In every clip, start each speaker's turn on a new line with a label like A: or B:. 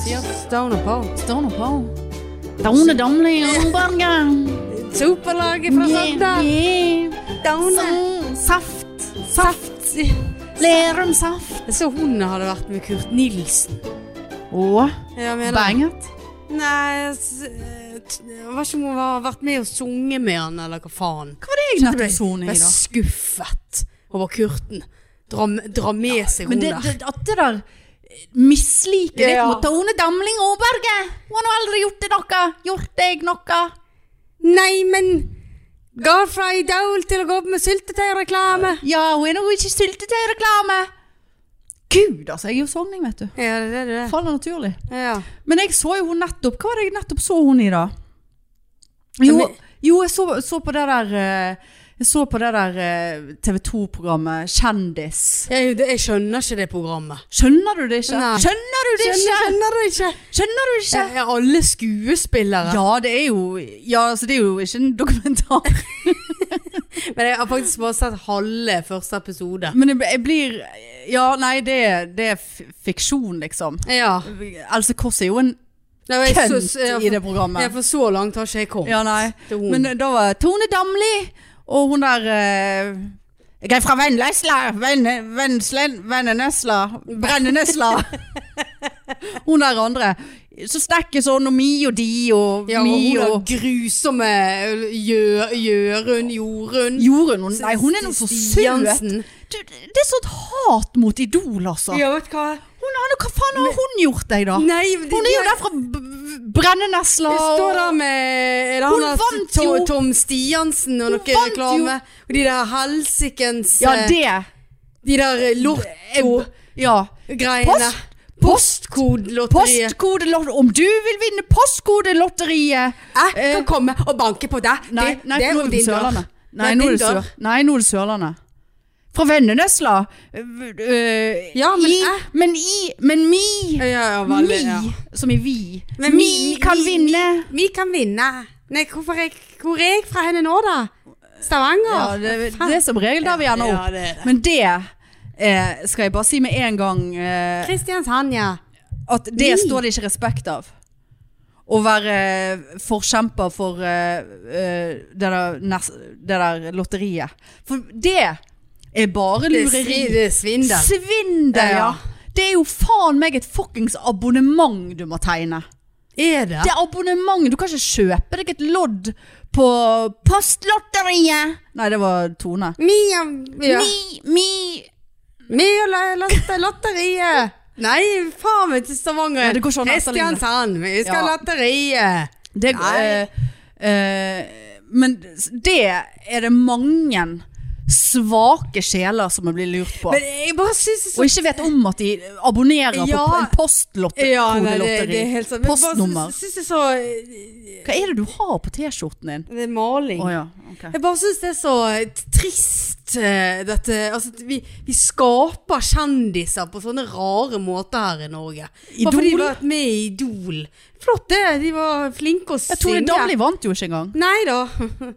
A: Stone og Pole.
B: Stone og Pole. Done, damle, hamburger.
A: Superlaget fra Sogndal. Stone.
B: Saft.
A: Saft.
B: Lerum saft.
A: Så hun hadde vært med Kurt Nilsen.
B: Og
A: Jeg mener-
B: banget.
A: Nei, s- eh, t- jeg vet ikke om hun har vært med og sunget med han, eller hva faen.
B: Hva var det jeg nettopp sonet
A: Jeg
B: i,
A: er
B: da?
A: skuffet over Kurten. Dra, dra med seg
B: Men
A: hun
B: det,
A: der.
B: det, at det der misliket ditt
A: Ja.
B: mot Tone Damling Aaberge Hun har nå aldri gjort det noe! Gjort deg noe!
A: Nei, men Gå fra Idol til å gå opp med syltetøyreklame.
B: Ja, hun er nå ikke syltetøyreklame! Gud, altså. Jeg er jo sogning, vet du.
A: Ja, det er det.
B: Faller naturlig.
A: Ja.
B: Men jeg så jo hun nettopp Hva var det jeg nettopp så hun i, da? Jo,
A: Men-
B: jo jeg så, så på det der eh, Jeg så på det der eh, TV 2-programmet Kjendis.
A: Jeg, det- jeg skjønner ikke det programmet.
B: Skjønner du det ikke?
A: Nei.
B: Skjønner du det ikke?
A: du ikke?
B: Skjønner du ikke?
A: Er alle skuespillere?
B: Ja, det er jo Ja, altså, det er jo ikke en dokumentar.
A: Men jeg har faktisk bare sett halve første episode.
B: Men jeg, jeg blir Ja, nei, det, det er f- fiksjon, liksom.
A: Ja.
B: Else Kåss er jo en
A: Nei, jeg
B: kønt
A: synes- jeg-
B: i det
A: jeg-
B: programmet.
A: For så langt har ikke jeg kommet.
B: Ja, nei.
A: til hun.
B: Men eh, da var Tone Damli og hun der eh, Jeg er fra Vennesla! Venne, Vennslen, Vennenesla Brennenesla! hun der andre. Så snekker sånn, og mi og de og
A: ja, og
B: mi
A: hun
B: og
A: og grusomme Gjø- Jørund, Jorunn
B: Jorunn, hun, nei, hun er nå så søt.
A: Stiansen.
B: Du, det er sånt hat mot Idol, altså.
A: Ja, vet du hva?
B: Hun, han, hva faen har hun gjort deg, da?
A: Nei, det,
B: Hun er jo der fra B- B- Brennenesla.
A: Jeg
B: og-
A: står der med er det han
B: Hun
A: der
B: vant
A: To-
B: jo!
A: Tom Stiansen og
B: Hun
A: noe
B: vant
A: reklame. Og de der helsikens
B: Ja,
A: eh,
B: det.
A: De der lotto-greiene.
B: Ja. Post, post,
A: Postkodelotteriet.
B: Postkodelotteriet. Om du vil vinne postkodelotteriet
A: Jeg kan komme Eh, og banke på deg.
B: Eh. Nei,
A: det,
B: nei,
A: det
B: for nå
A: er
B: er det
A: din dør.
B: Sørlandet. Nei,
A: Det er
B: nå er
A: din
B: det Sør-
A: dør.
B: nei, nå er det Sørlandet. Fra Vennenesla. Øh,
A: Ja, men
B: i,
A: jeg-
B: men i Men mi!
A: Ja, ja,
B: Mi!
A: veldig, ja.
B: Som i vi.
A: Men mi-
B: Mi
A: mi-
B: kan
A: mi-
B: vinne.
A: Vi kan vinne. Nei, hvorfor jeg, hvor er jeg fra henne nå, da? Stavanger?
B: Ja, det, det er som regel der vi ender
A: Ja,
B: opp.
A: det er det.
B: Men det eh, skal jeg bare si med en gang eh,
A: Kristiansand, ja.
B: at det
A: Ni.
B: står det ikke respekt av. Å være eh, forkjemper for eh, eh, det, der, nes- det der lotteriet. For det er bare
A: Det er svi-
B: lureri.
A: det er svindel.
B: Svindel, ja.
A: Ja.
B: Det er jo faen meg et fuckings abonnement du må tegne.
A: Er det?
B: Det er abonnement. Du kan ikke kjøpe deg et lodd på Postlotteriet. Nei, det var Tone.
A: Mia, ja.
B: Mi, mi
A: Mia la- latte- Lotteriet. Nei, faen meg til Stavanger.
B: Ja, det går sånn, Adeline.
A: Kristiansand, vi skal
B: Ja.
A: Lotteriet.
B: Det,
A: Nei.
B: eh, eh, men det er det mange svake sjeler som blir lurt på.
A: Men jeg bare synes det er så
B: og ikke vet om at de abonnerer
A: Ja.
B: på en postlotteri.
A: Ja, nei, det, det er helt sånn. Men jeg bare
B: Postnummer.
A: synes- synes det er så
B: Hva er det du har på T-skjorten din?
A: Det er maling.
B: Å ja, ok.
A: Jeg bare synes det er så eh, t- trist eh, dette Altså, at vi, vi skaper kjendiser på sånne rare måter her i Norge. Bare fordi de
B: Idol?
A: har vært med i Idol. Flott det, de var flinke å
B: Jeg tror
A: synge.
B: det Damli vant jo ikke engang.
A: Nei da.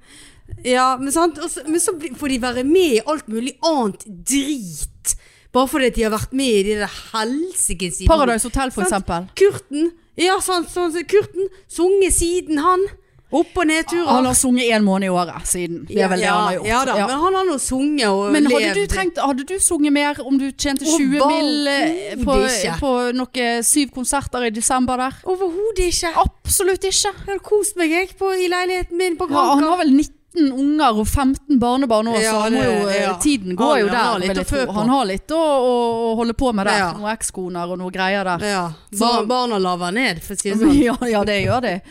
A: Ja, men sant. Og så- men så blir- får de være med i alt mulig annet drit. Bare fordi at de har vært med i de der helsikes Idol.
B: Paradise Hotel, for
A: Sant.
B: eksempel.
A: Kurten. Ja, sånn, sånn, Kurten. Sunget siden han. Opp- og nedturer.
B: Han har sunget én måned i året siden. Det er vel det
A: ja,
B: han har gjort.
A: Ja da,
B: Ja.
A: men han har nå sunget og
B: Men
A: levd.
B: hadde du, trengt, hadde du sunget mer om du tjente 20 mill. eh, på,
A: Overhodet ikke.
B: på noen syv konserter i desember der?
A: Overhodet ikke.
B: Absolutt ikke.
A: Jeg hadde kost meg jeg på, i leiligheten min på
B: Ja, han
A: Granka.
B: har vel 19 unger og 15 barnebarn nå,
A: Ja,
B: så han
A: det-
B: må jo, eh,
A: ja.
B: tiden går
A: Han-
B: jo
A: han
B: der.
A: har litt
B: vil jeg
A: å fø
B: tro.
A: på.
B: han har litt å, å, å holde på med der.
A: Ja.
B: Noen ekskoner og noe greier der.
A: ja,
B: Så-
A: bar, barna laver ned, for å si det sånn.
B: Ja, ja, det gjør de.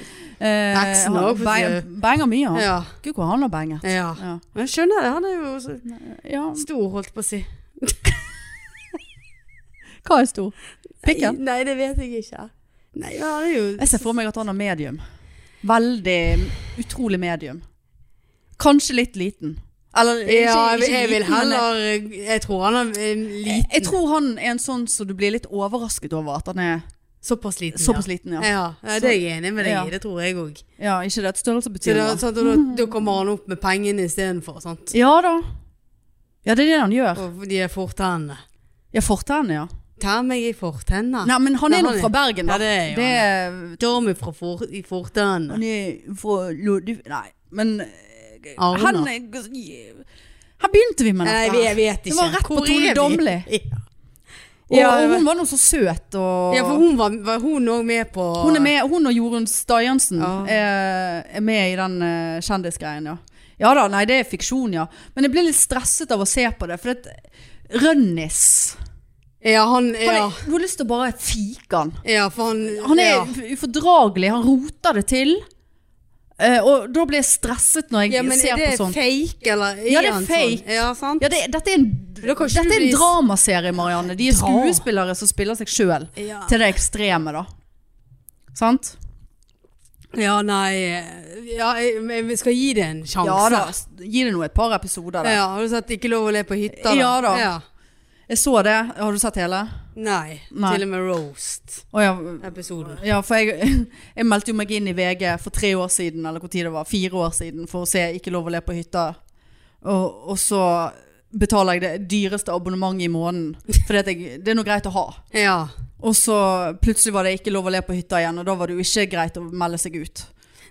B: Eh,
A: Eksen
B: han
A: også, for å si
B: bang-
A: det.
B: Banger mye, han.
A: Ja,
B: Gud, hvor han har banget.
A: ja.
B: Ja.
A: Men jeg skjønner det, han er jo så
B: ja.
A: stor, holdt på å si.
B: Hva er stor? Pikken?
A: Nei, det vet jeg ikke. Nei, men han er jo
B: Jeg ser for meg at han har medium. Veldig utrolig medium. Kanskje litt liten. Eller ikke,
A: Ja, jeg,
B: ikke
A: jeg vil
B: liten, men-
A: heller Jeg tror han er eh, liten.
B: Jeg tror han er en sånn som du blir litt overrasket over at han er
A: Såpass liten,
B: såpass liten.
A: ja.
B: Ja.
A: Ja, ja, det er jeg enig med deg
B: Ja.
A: i. Det tror jeg òg.
B: Ja, ikke det at størrelse
A: Så
B: betyr
A: da,
B: noe.
A: sant, og da, da kommer han opp med pengene istedenfor, sant.
B: Ja da. Ja, det er det han gjør.
A: Og de er fortennene.
B: Ja, fortennene, ja.
A: Ta meg i fortenna.
B: Nei, men han
A: Ah. Nei,
B: er nå
A: han er-
B: fra Bergen, da.
A: Ja, det er jo
B: det er,
A: Storm fra for, i fortenna.
B: Han er fra Lodif... Nei, men eh,
A: Arna.
B: han er- Her begynte vi med dette.
A: Nei,
B: her.
A: vi- jeg vet ikke.
B: Det var rett
A: Hvor
B: på Tone
A: er vi?
B: Damli.
A: Ja.
B: Og,
A: Ja, det
B: og
A: var-
B: hun var nå så søt. Og,
A: Ja, for hun var, var hun òg med på
B: Hun er med, hun og Jorunn Stiansen
A: Ja.
B: er, er med i den eh, kjendisgreien, ja. Ja da, nei, det er fiksjon, ja. Men jeg ble litt stresset av å se på det, for det Rønnis
A: Ja, han
B: Han er-
A: ja,
B: Du har lyst til å bare fike han.
A: ja, for han
B: Han er
A: ja.
B: ufordragelig, han roter det til. Eh, og da blir jeg stresset når jeg
A: ja, men
B: ser
A: er det
B: på sånt.
A: fake, eller?
B: Ja, det er
A: han sånn?
B: fake.
A: Ja, sant?
B: Ja, det, dette er en,
A: Da kan ikke
B: dette
A: du
B: er en
A: bli-
B: dramaserie, Marianne. De er
A: Drama.
B: skuespillere som spiller seg sjøl
A: Ja.
B: til det ekstreme, da. Sant?
A: Ja, nei eh, ja, jeg, men Vi skal gi det en sjanse.
B: Ja da. Gi det nå et par episoder. Der.
A: Ja, har du sett 'Ikke lov å le på hytta'?
B: Ja da. Jeg så det. Har du sett hele?
A: Nei,
B: Nei.
A: Til og med Roast-episoden.
B: Å ja. Ja, for jeg, jeg meldte jo meg inn i VG for tre år siden, eller hvor tid det var, fire år siden, for å se Ikke lov å le på hytta. Og, og så betaler jeg det dyreste abonnementet i måneden, for det er noe greit å ha.
A: Ja.
B: Og så plutselig var det ikke lov å le på hytta igjen, og da var det jo ikke greit å melde seg ut.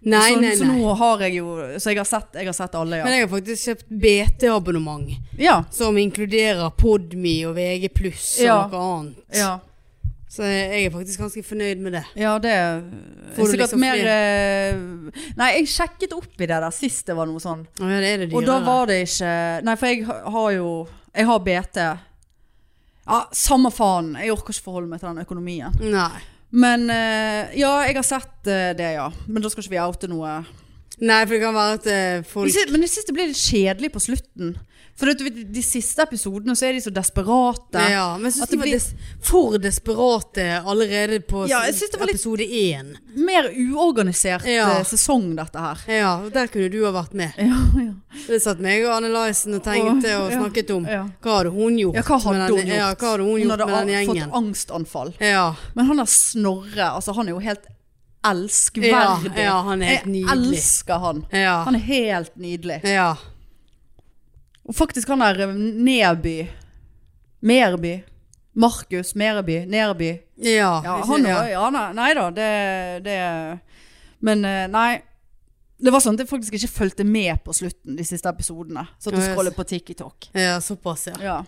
A: Nei,
B: så,
A: nei,
B: sånn- så
A: nei.
B: nå har jeg jo Så jeg har sett, jeg har sett alle, ja.
A: Men jeg har faktisk kjøpt BT-abonnement,
B: ja.
A: som inkluderer Podme og VG pluss og
B: Ja.
A: noe annet.
B: Ja,
A: Så jeg er faktisk ganske fornøyd med det.
B: ja, det er
A: Får du
B: sikkert
A: liksom
B: mer eh, Nei, jeg sjekket opp i det der sist det var noe sånn.
A: Å ja, det er det dyrere.
B: Og da var det ikke Nei, for jeg ha- har jo Jeg har BT. Ja, samme faen. Jeg orker ikke forholde meg til den økonomien.
A: Nei.
B: Men eh, ja, jeg har sett eh, det, ja. Men da skal ikke vi oute noe.
A: Nei, for det kan være at eh, folk
B: Jeg synes, men jeg syns det blir litt kjedelig på slutten. For du vet, de siste episodene så er de så desperate.
A: Ja, men
B: At
A: jeg syns
B: det
A: de var
B: blir-
A: des for desperate allerede på
B: Ja, jeg
A: s-
B: synes det var litt-
A: episode én.
B: Mer uorganisert
A: Ja.
B: eh, sesong, dette her.
A: Ja, og der kunne du ha vært med.
B: Ja, ja.
A: Det satt meg og Anne Laisen og tenkte
B: Åh,
A: og
B: ja,
A: snakket om.
B: ja.
A: Hva hadde hun gjort?
B: ja hva hadde
A: med
B: hun
A: den-
B: gjort?
A: Ja, hva hadde hun gjort
B: hadde
A: med den
B: a-
A: gjengen?
B: fått angstanfall.
A: Ja.
B: Men han der Snorre, altså han er jo helt
A: Ja,
B: elskverdig.
A: ja, han er helt
B: jeg
A: nydelig.
B: elsker han.
A: Ja.
B: Han er helt nydelig.
A: ja.
B: Og faktisk han der eh, Neby Merby. Markus Merby. Nerby.
A: Ja,
B: Ja,
A: ikke-
B: han
A: ja.
B: var, ja, nei, nei da, det, det Men eh, nei. Det var sånn at jeg faktisk ikke fulgte med på slutten de siste episodene. Så at du
A: Ja, jeg
B: scrollet på TikTok.
A: ja, såpass, ja.
B: Ja.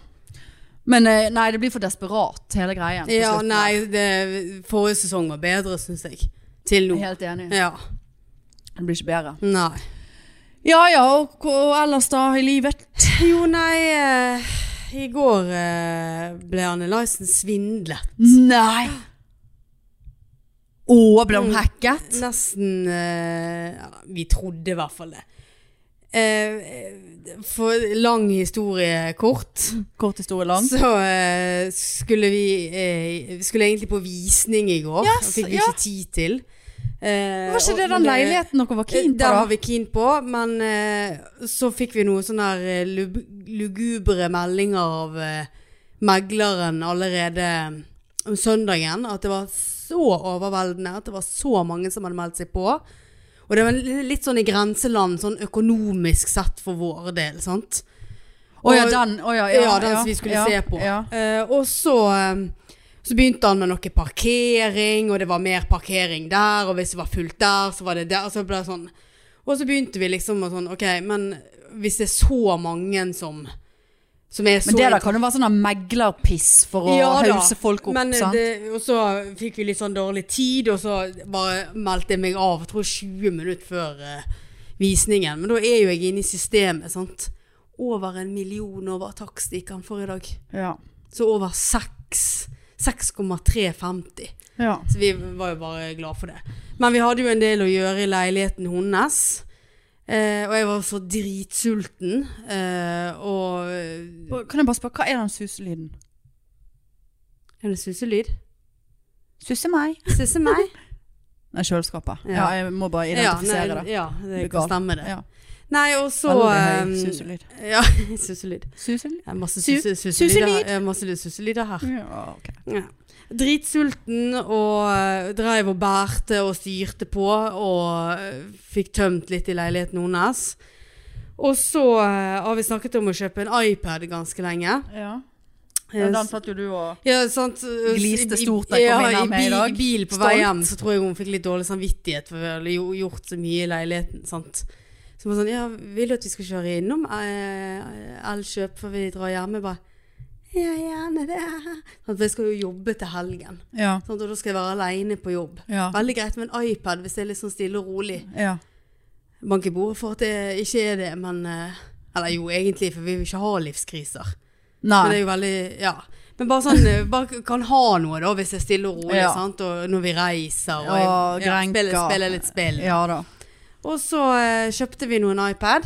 B: Men eh, nei, det blir for desperat, hele greien. på
A: Ja,
B: slutten.
A: nei, det, forrige sesong var bedre, syns jeg. Til
B: Jeg er
A: nå.
B: Helt enig.
A: Ja.
B: Det blir ikke bedre.
A: Nei.
B: Ja ja, og, og ellers da i livet?
A: Jo, nei eh, I går eh, ble Anne Laisen svindlet.
B: Nei! Å, ble
A: Mm.
B: hun hacket?
A: Nesten eh, ja, Vi trodde i hvert fall det. Eh, for lang historie kort.
B: Kort historie lang.
A: Så eh, skulle vi eh, Vi skulle egentlig på visning i går.
B: Yes,
A: og fikk vi
B: ja.
A: ikke tid til. Eh,
B: Var ikke
A: og-
B: det
A: men
B: den leiligheten dere var keen på,
A: Eh, Den var
B: da?
A: vi keen på, men eh, så fikk vi noen sånne her eh, lub- lugubre meldinger av eh, megleren allerede om søndagen. At det var så overveldende, at det var så mange som hadde meldt seg på. Og det var li- litt sånn i grenseland, sånn økonomisk sett for vår del, sant?
B: Å ja, den. Å ja,
A: Ja, den som vi skulle
B: ja,
A: se på.
B: Ja.
A: Eh, og så, eh, så begynte han med noe parkering, og det var mer parkering der, og hvis det var fullt der, så var det der. Så ble det sånn. Og så begynte vi liksom med sånn, ok, men hvis det er så mange som, som er så
B: Men det der kan jo være sånn der meglerpiss for å
A: da,
B: hause folk opp,
A: men eh,
B: sant?
A: Det, og så fikk vi litt sånn dårlig tid, og så bare meldte jeg meg av, jeg tror 20 minutter før eh, visningen. Men da er jo jeg inne i systemet, sant? Over en million over takst gikk han for i dag.
B: Ja.
A: Så over 6, 6,350.
B: ja.
A: Så vi var jo bare glad for det. Men vi hadde jo en del å gjøre i leiligheten hennes. Eh, og jeg var så dritsulten. Eh, og
B: Kan jeg bare spørre, hva er den suselyden?
A: Er det susselyd?
B: Susse meg.
A: Susse meg?
B: Nei, kjøleskapet.
A: Ja.
B: Ja. jeg må bare identifisere
A: ja, nei,
B: det.
A: Ja, det
B: Blir
A: kan
B: gal.
A: stemme det.
B: Ja.
A: Nei, og så
B: Veldig høy
A: eh,
B: suselyd.
A: Ja, susselyd.
B: Suselyd?
A: Det er Masse
B: Su-
A: susse-
B: susselyd.
A: susselyder her. Ja, masse susselyder her.
B: Ja, ok.
A: Ja. Dritsulten og eh, dreiv og bærte og styrte på og eh, fikk tømt litt i leiligheten hennes. Og så eh, har vi snakket om å kjøpe en iPad ganske lenge.
B: Ja. Ja, den satt jo du og
A: Ja, sant. eh,
B: Gliste stort da
A: I-
B: jeg kom inn her
A: ja, i
B: med i
A: bil-
B: dag.
A: bil på
B: Stolt.
A: vei hjem så tror jeg hun fikk litt dårlig samvittighet for vi hadde jo gjort så mye i leiligheten. sant? Så hun var sånn Ja, vil du at vi skal kjøre innom eh, Elkjøp før vi drar hjem? Jeg bare Ja, gjerne det. Sant, For jeg skal jo jobbe til helgen.
B: Ja.
A: Sant? Og da Sånn skal jeg være aleine på jobb.
B: Ja.
A: Veldig greit med en iPad hvis det er litt sånn stille og rolig.
B: ja.
A: Bank i bordet for at det ikke er det, men eh, Eller jo, egentlig, for vi vil ikke ha livskriser. Men det
B: Nei.
A: er jo veldig, ja. Men bare sånn, eh, bare kan ha noe da, hvis det er stille og rolig,
B: Ja.
A: sant? Og når vi reiser, og
B: Ja,
A: jeg- ja, spiller,
B: grenker.
A: spiller litt spill.
B: Ja da.
A: Og så eh, kjøpte vi noen iPad,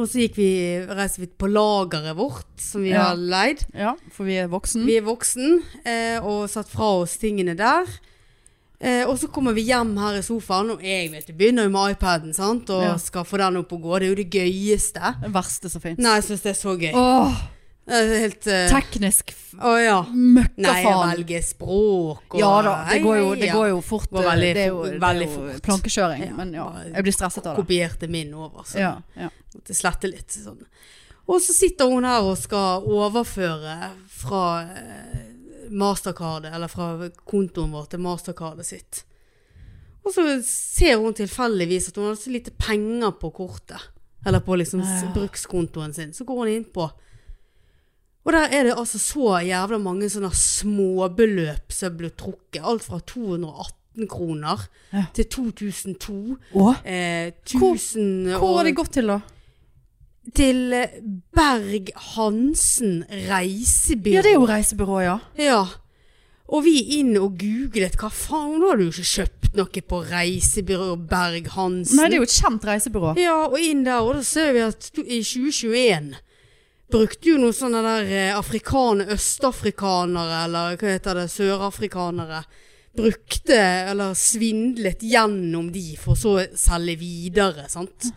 A: og så gikk vi, reiste vi på lageret vårt, som vi
B: Ja.
A: har leid.
B: Ja, for vi er voksen.
A: Vi er voksen, eh, og satt fra oss tingene der. Eh, og så kommer vi hjem her i sofaen, og jeg vet, du, begynner jo med iPaden, sant? Og
B: Ja.
A: skal få den opp og gå, det er jo det gøyeste.
B: Det verste som finnes.
A: Nei, jeg synes det er så gøy.
B: Åh,
A: Det er Helt... eh,
B: teknisk f-
A: Å ja. Nei, jeg
B: møkkafaen.
A: velger språk og
B: Ja da, det går jo, det går jo fort.
A: Går veldig
B: det er jo,
A: fort-
B: det er
A: veldig
B: jo
A: fort.
B: plankekjøring.
A: Ja,
B: Men ja,
A: bare- sånn.
B: jeg blir stresset av det.
A: Kopierte min over, så
B: Ja, ja.
A: måtte slette litt. Sånn. Og så sitter hun her og skal overføre fra eh, mastercardet, eller fra kontoen vår til mastercardet sitt. Og så ser hun tilfeldigvis at hun har så lite penger på kortet, eller på liksom s-
B: Ja.
A: brukskontoen sin. Så går hun inn på Og der er det altså så jævla mange sånne småbeløp som ble trukket. Alt fra 218 kroner
B: Ja.
A: til 2002.
B: Åh,
A: Eh,
B: Hvor-
A: 1000
B: hvor har
A: og
B: det gått til da?
A: til eh, Berg Hansen reisebyrå.
B: Ja, det er jo reisebyrå, ja.
A: Ja. Og vi inn og googlet hva faen, nå har du jo ikke kjøpt noe på reisebyrå Berg Hansen.
B: Nei, det er jo et kjent reisebyrå.
A: Ja, og inn der, og da ser vi at du- i 2021 brukte jo noen sånne der eh, afrikanere, østafrikanere, eller hva heter det, sørafrikanere, brukte eller svindlet gjennom de for så å selge videre, sant?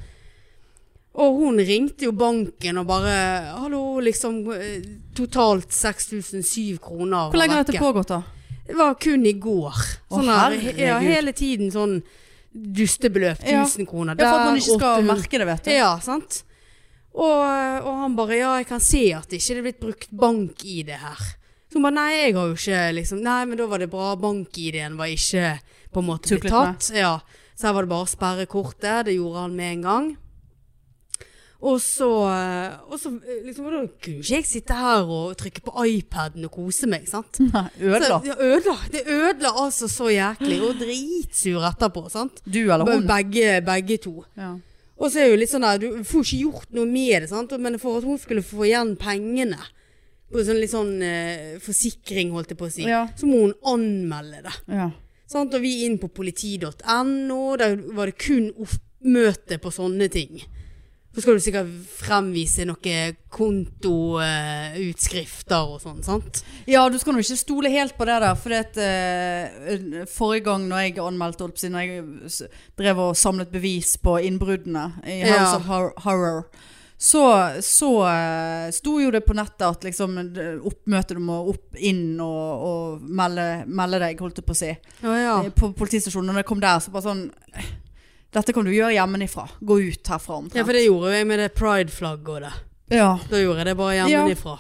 A: Og hun ringte jo banken og bare, hallo, liksom, eh, totalt 6007 kroner.
B: Hvor lenge har dette
A: vekke.
B: pågått da?
A: Det var kun i går.
B: Å,
A: Sånn her,
B: herregud.
A: ja, hele tiden sånn dustebeløp,
B: Ja.
A: 1000 kroner.
B: Ja, for at man ikke skal
A: 800.
B: merke det, vet du.
A: Ja, sant? Og, og han bare, ja, jeg kan se at det ikke er blitt brukt bank-ID her. Så hun bare, nei, jeg har jo ikke liksom, nei, men da var det bra, bank-ID-en var ikke på en måte blitt
B: Tuklet med.
A: tatt. Ja, så her var det bare å sperre kortet, det gjorde han med en gang. Og så, og så eh, liksom, og da kunne ikke jeg sitte her og trykke på iPaden og kose meg, sant?
B: Nei, ødela.
A: Så, ja, ødela. Det ødela altså så jæklig, og dritsur etterpå, sant?
B: Du eller hun.
A: Begge, begge to.
B: Ja.
A: Og så er jo litt sånn der, du får ikke gjort noe med det, sant? men for at hun skulle få igjen pengene, på sånn litt sånn eh, forsikring, holdt jeg på å si,
B: Ja.
A: så må hun anmelde det.
B: Ja.
A: Sant? Og vi inn på politi.no, der var det kun oppmøte på sånne ting. Så skal du sikkert fremvise noen kontoutskrifter og sånn, sant?
B: Ja, du skal nå ikke stole helt på det der, for at, eh, forrige gang når jeg anmeldte, holdt på å si, når jeg s- drev og samlet bevis på innbruddene i House
A: Ja.
B: of Hor- Horror, så, så eh, sto jo det på nettet at liksom d- oppmøtet du må opp inn og, og melde, melde deg, holdt jeg på å si,
A: Ja, ja.
B: eh, på politistasjonen. Og når jeg kom der, så bare sånn Dette kan du gjøre hjemmefra. Gå ut herfra omtrent.
A: Ja, for det gjorde jo jeg med det pride-flagget og det.
B: ja.
A: Da gjorde jeg det bare hjemmefra.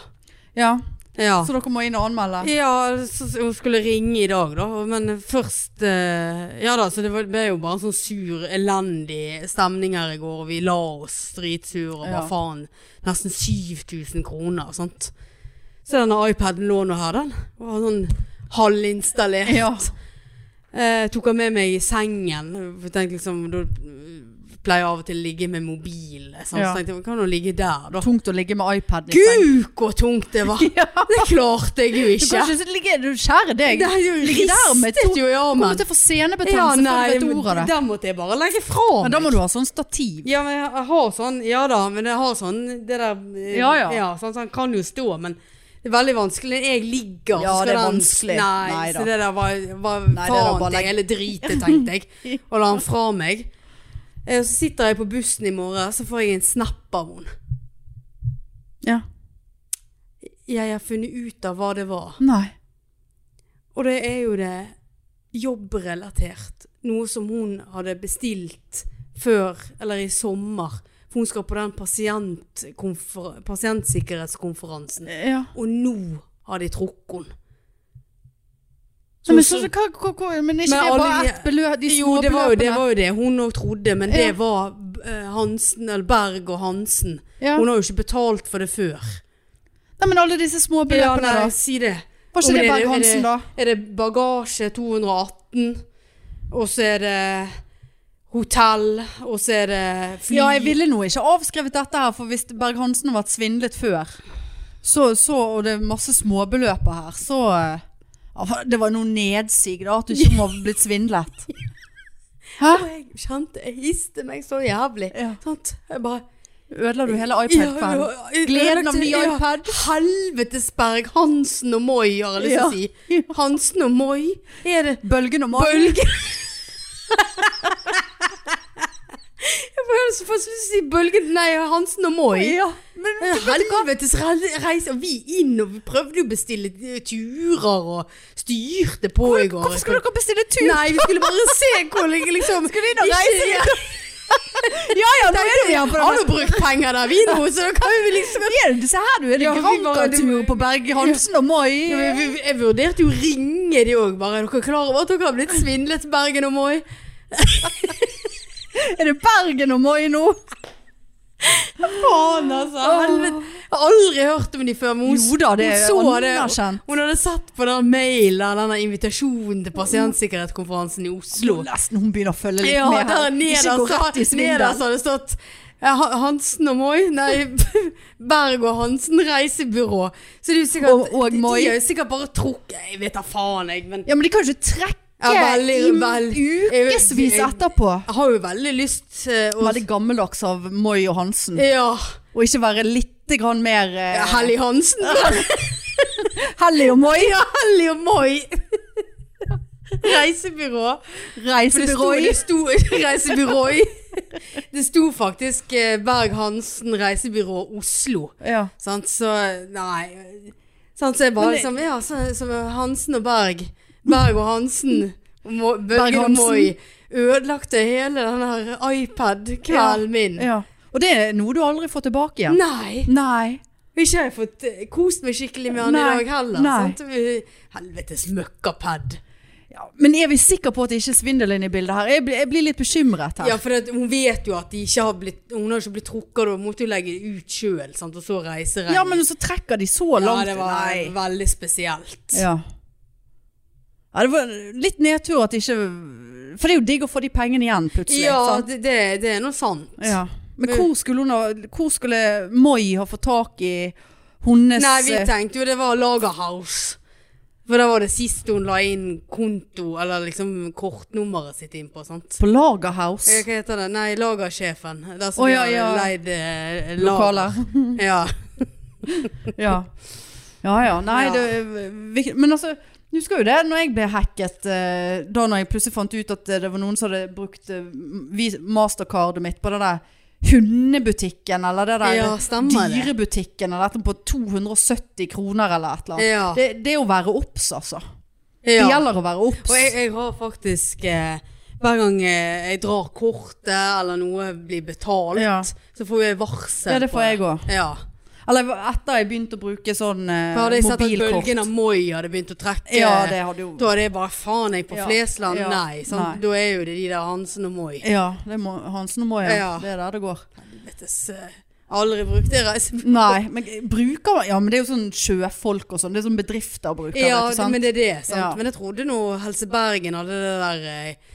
B: ja.
A: Ja.
B: Så dere må inn og anmelde?
A: Ja, så så hun skulle ringe i dag da, men først eh, Ja da, så det var- ble jo bare en sånn sur, elendig stemning her i går, og vi la oss dritsure og bare
B: Ja.
A: faen. Nesten 7000 kroner, sant. Så denne iPaden lå nå her, den. Var sånn halvinstallert.
B: Ja.
A: Eh, tok han med meg i sengen. for Jeg tenkte liksom, Da eh, pleier jeg av og til å ligge med mobil. Sant?
B: Ja.
A: Så tenkte jeg, kan jo ligge der, da.
B: Tungt å ligge med iPaden i sengen.
A: Gud, hvor tungt det var! Det klarte jeg jo
B: Du
A: ikke.
B: kan ikke ligge du, Kjære deg.
A: Det er jo
B: Ligge der med
A: ristet
B: to-
A: jo i
B: Kommer
A: armen.
B: til å få senebetennelse før du vet ordet av det.
A: den måtte jeg bare legge fra
B: Men da må du ha sånn stativ.
A: Ja, men jeg jeg har sånn, ja da, men jeg har sånn, det der, eh,
B: Ja, ja.
A: sånn, så han kan jo stå, men det er veldig vanskelig. Jeg ligger,
B: Ja,
A: så skal
B: det er
A: den-
B: vanskelig.
A: Nei,
B: Nei da.
A: så det der var, var
B: Nei, det er da
A: faen
B: bare
A: til
B: legg-
A: hele dritet, tenkte jeg, og la han fra meg. Eh, Så sitter jeg på bussen i morgen, så får jeg en snap av henne.
B: Ja.
A: Jeg har funnet ut av hva det var.
B: Nei.
A: Og det er jo det jobbrelatert. Noe som hun hadde bestilt før, eller i sommer. For For hun skal på den pasientkonfer- pasientsikkerhetskonferansen.
B: Ja.
A: Og nå har de trukket henne.
B: Nei, men, så, så, hva, hva, hva, men er ikke
A: Men
B: det bare
A: alle de-
B: ett beløp? De
A: jo,
B: små
A: det var jo, det
B: beløpene?
A: var jo det hun òg trodde, men det
B: Ja.
A: var eh, Hansen, eller Berg og Hansen.
B: ja.
A: Hun har jo ikke betalt for det før.
B: Nei, men alle disse små
A: Ja,
B: beløpene,
A: nei,
B: da.
A: si det.
B: Var
A: Om
B: ikke det
A: er
B: Berg
A: er det-
B: Hansen, da?
A: Er det bagasje 218, og så er det hotell, og så er det fly.
B: Ja, jeg ville nå ikke avskrevet dette her, for hvis Berg-Hansen har vært svindlet før, så, så, og det er masse småbeløper her, så eh, ja, Det var noe nedsig, da, at du ikke må ha blitt svindlet. Hæ?
A: Og jeg kjente, jeg histe meg så jævlig.
B: Ja.
A: Sant? Jeg bare
B: Ødela du hele
A: Ja,
B: iPad-fanen?
A: ja, ja,
B: Gleden av ny
A: ja.
B: iPad.
A: Helvetes Berg, Hansen og Moi, har jeg lyst til
B: Ja.
A: å si. Hansen og Moi, er det
B: Bølgen og magen.
A: bølge? jeg bare så først lyst til å si bølgen, nei, Hansen og Moi.
B: Ja, men
A: En Helvetes re- reise, og vi inn, og vi prøvde jo å bestille eh, turer, og styrte på i går.
B: hvorfor skulle dere bestille tur?
A: Nei, vi skulle bare se hvor lenge liksom Skulle
B: inn og reise? Ja ja, nå er det vi her på
A: Har
B: den
A: jo brukt penger der, vi nå, så da kan vi liksom
B: Ja, Se her, du. Er det
A: Ja, vi var-
B: Granca-tur på Berg-Hansen og Moi?
A: Ja, men vi- Jeg vurderte jo å ringe de òg, bare. Er dere klar over at dere har blitt svindlet, Bergen og Moi?
B: Er det Bergen og Moi nå?
A: Faen, altså. Helvete. Jeg har aldri hørt om de før, men hun,
B: Jo da, det er
A: hun så det.
B: anerkjent.
A: Hun hadde sett på den mailen, denne invitasjonen til pasientsikkerhetskonferansen i Oslo.
B: Nesten hun begynner å følge litt
A: Ja,
B: med.
A: der altså.
B: her. Ikke gå rett i
A: nederst nederst
B: svindel.
A: har det stått eh, Ha- Hansen og Moi, nei Berg og Hansen reisebyrå. Så det er jo sikkert
B: Og- og
A: de-
B: Moi.
A: De har jo sikkert bare trukket Jeg vet da faen, jeg, men
B: Ja, men de kan jo ikke trekke
A: Ja, veldig,
B: i
A: veldig.
B: ukevis
A: Jeg-
B: etterpå.
A: jeg har jo veldig lyst eh, å
B: Veldig gammeldags av Moi og Hansen.
A: Ja.
B: Og ikke være litt grann mer eh,
A: Hellig Hansen.
B: Hellig og Moi.
A: Ja, Hellig og Moi. Reisebyrå. For det sto,
B: Reisebyrå.
A: det sto Reisebyrå. Det sto faktisk eh, Berg-Hansen Reisebyrå Oslo.
B: Ja.
A: Sant, så Nei. Sant, så jeg bare
B: Men det-
A: liksom Ja, så, så Hansen og Berg. Berg og Hansen. og Mo- Bølgen og
B: Berg-Hansen.
A: Moi. Ødelagte hele den her iPad-kvelden min.
B: ja. Mm. Og det er noe du aldri får tilbake igjen.
A: Nei!
B: Nei.
A: Ikke har jeg fått eh, kost meg skikkelig med han i
B: Nei,
A: dag heller.
B: nei.
A: Sant? Vi- Helvetes møkkapad.
B: Ja, men er vi sikre på at det ikke er svindel inne i bildet her? Jeg, blir- jeg blir litt bekymret her.
A: Ja, for det, hun vet jo at de ikke har blitt Hun har ikke blitt trukket, og hun måtte jo legge ut sjøl, og så reiseregning.
B: Ja, men så trekker de så
A: ja,
B: langt.
A: det var
B: Nei.
A: veldig spesielt.
B: Ja. ja, det var litt nedtur at ikke For det er jo digg å få de pengene igjen plutselig.
A: Ja, Mm.
B: sant?
A: det, det, det er nå sant.
B: ja. Men hvor skulle, hun ha, hvor skulle Moi ha fått tak i hennes
A: Nei, vi tenkte jo det var Lagerhouse. For da var det sist hun la inn konto, eller liksom kortnummeret sitt innpå, sant.
B: På
A: Eh,
B: Lagerhaus?
A: Hva heter det? Nei, lagersjefen. Der som
B: Å,
A: oh,
B: ja, ja.
A: leid eh, lager.
B: Lokaler.
A: Ja.
B: Ja. Ja ja. Nei,
A: Ja.
B: det vi, Men altså, du husker jo det når jeg ble hacket eh, Da når jeg plutselig fant ut at eh, det var noen som hadde brukt eh, vi- mastercardet mitt på den der hundebutikken, eller det der
A: Ja, stemmer det.
B: dyrebutikken, eller dette på 270 kroner eller et eller annet.
A: ja.
B: Det, det er å være obs, altså. Det
A: ja.
B: gjelder å være obs.
A: Og jeg, jeg har faktisk eh, Hver gang eh, jeg drar kortet eller noe blir betalt,
B: Ja.
A: så får jeg varsel.
B: Ja, det
A: på
B: får jeg òg.
A: Ja.
B: Eller etter jeg begynte å bruke sånn eh,
A: For hadde jeg sett at
B: mobilkort.
A: bølgen av Moi hadde begynt å trekke
B: Ja, det hadde jo
A: Da er det bare faen jeg på
B: Ja,
A: Flesland.
B: ja,
A: Nei, sant?
B: nei.
A: Da er jo det de der Hansen og Moi.
B: Ja, det må, Hansen og Moya.
A: Ja.
B: Det er der det går.
A: Helvetes eh, Aldri brukt det reisebyrået.
B: Nei, men eh, bruker Ja, men det er jo sånn sjøfolk og sånn. Det er sånn bedrifter bruker.
A: Ja,
B: vet du, sant?
A: men det er det. sant?
B: Ja.
A: Men jeg trodde nå Helse Bergen hadde det der eh,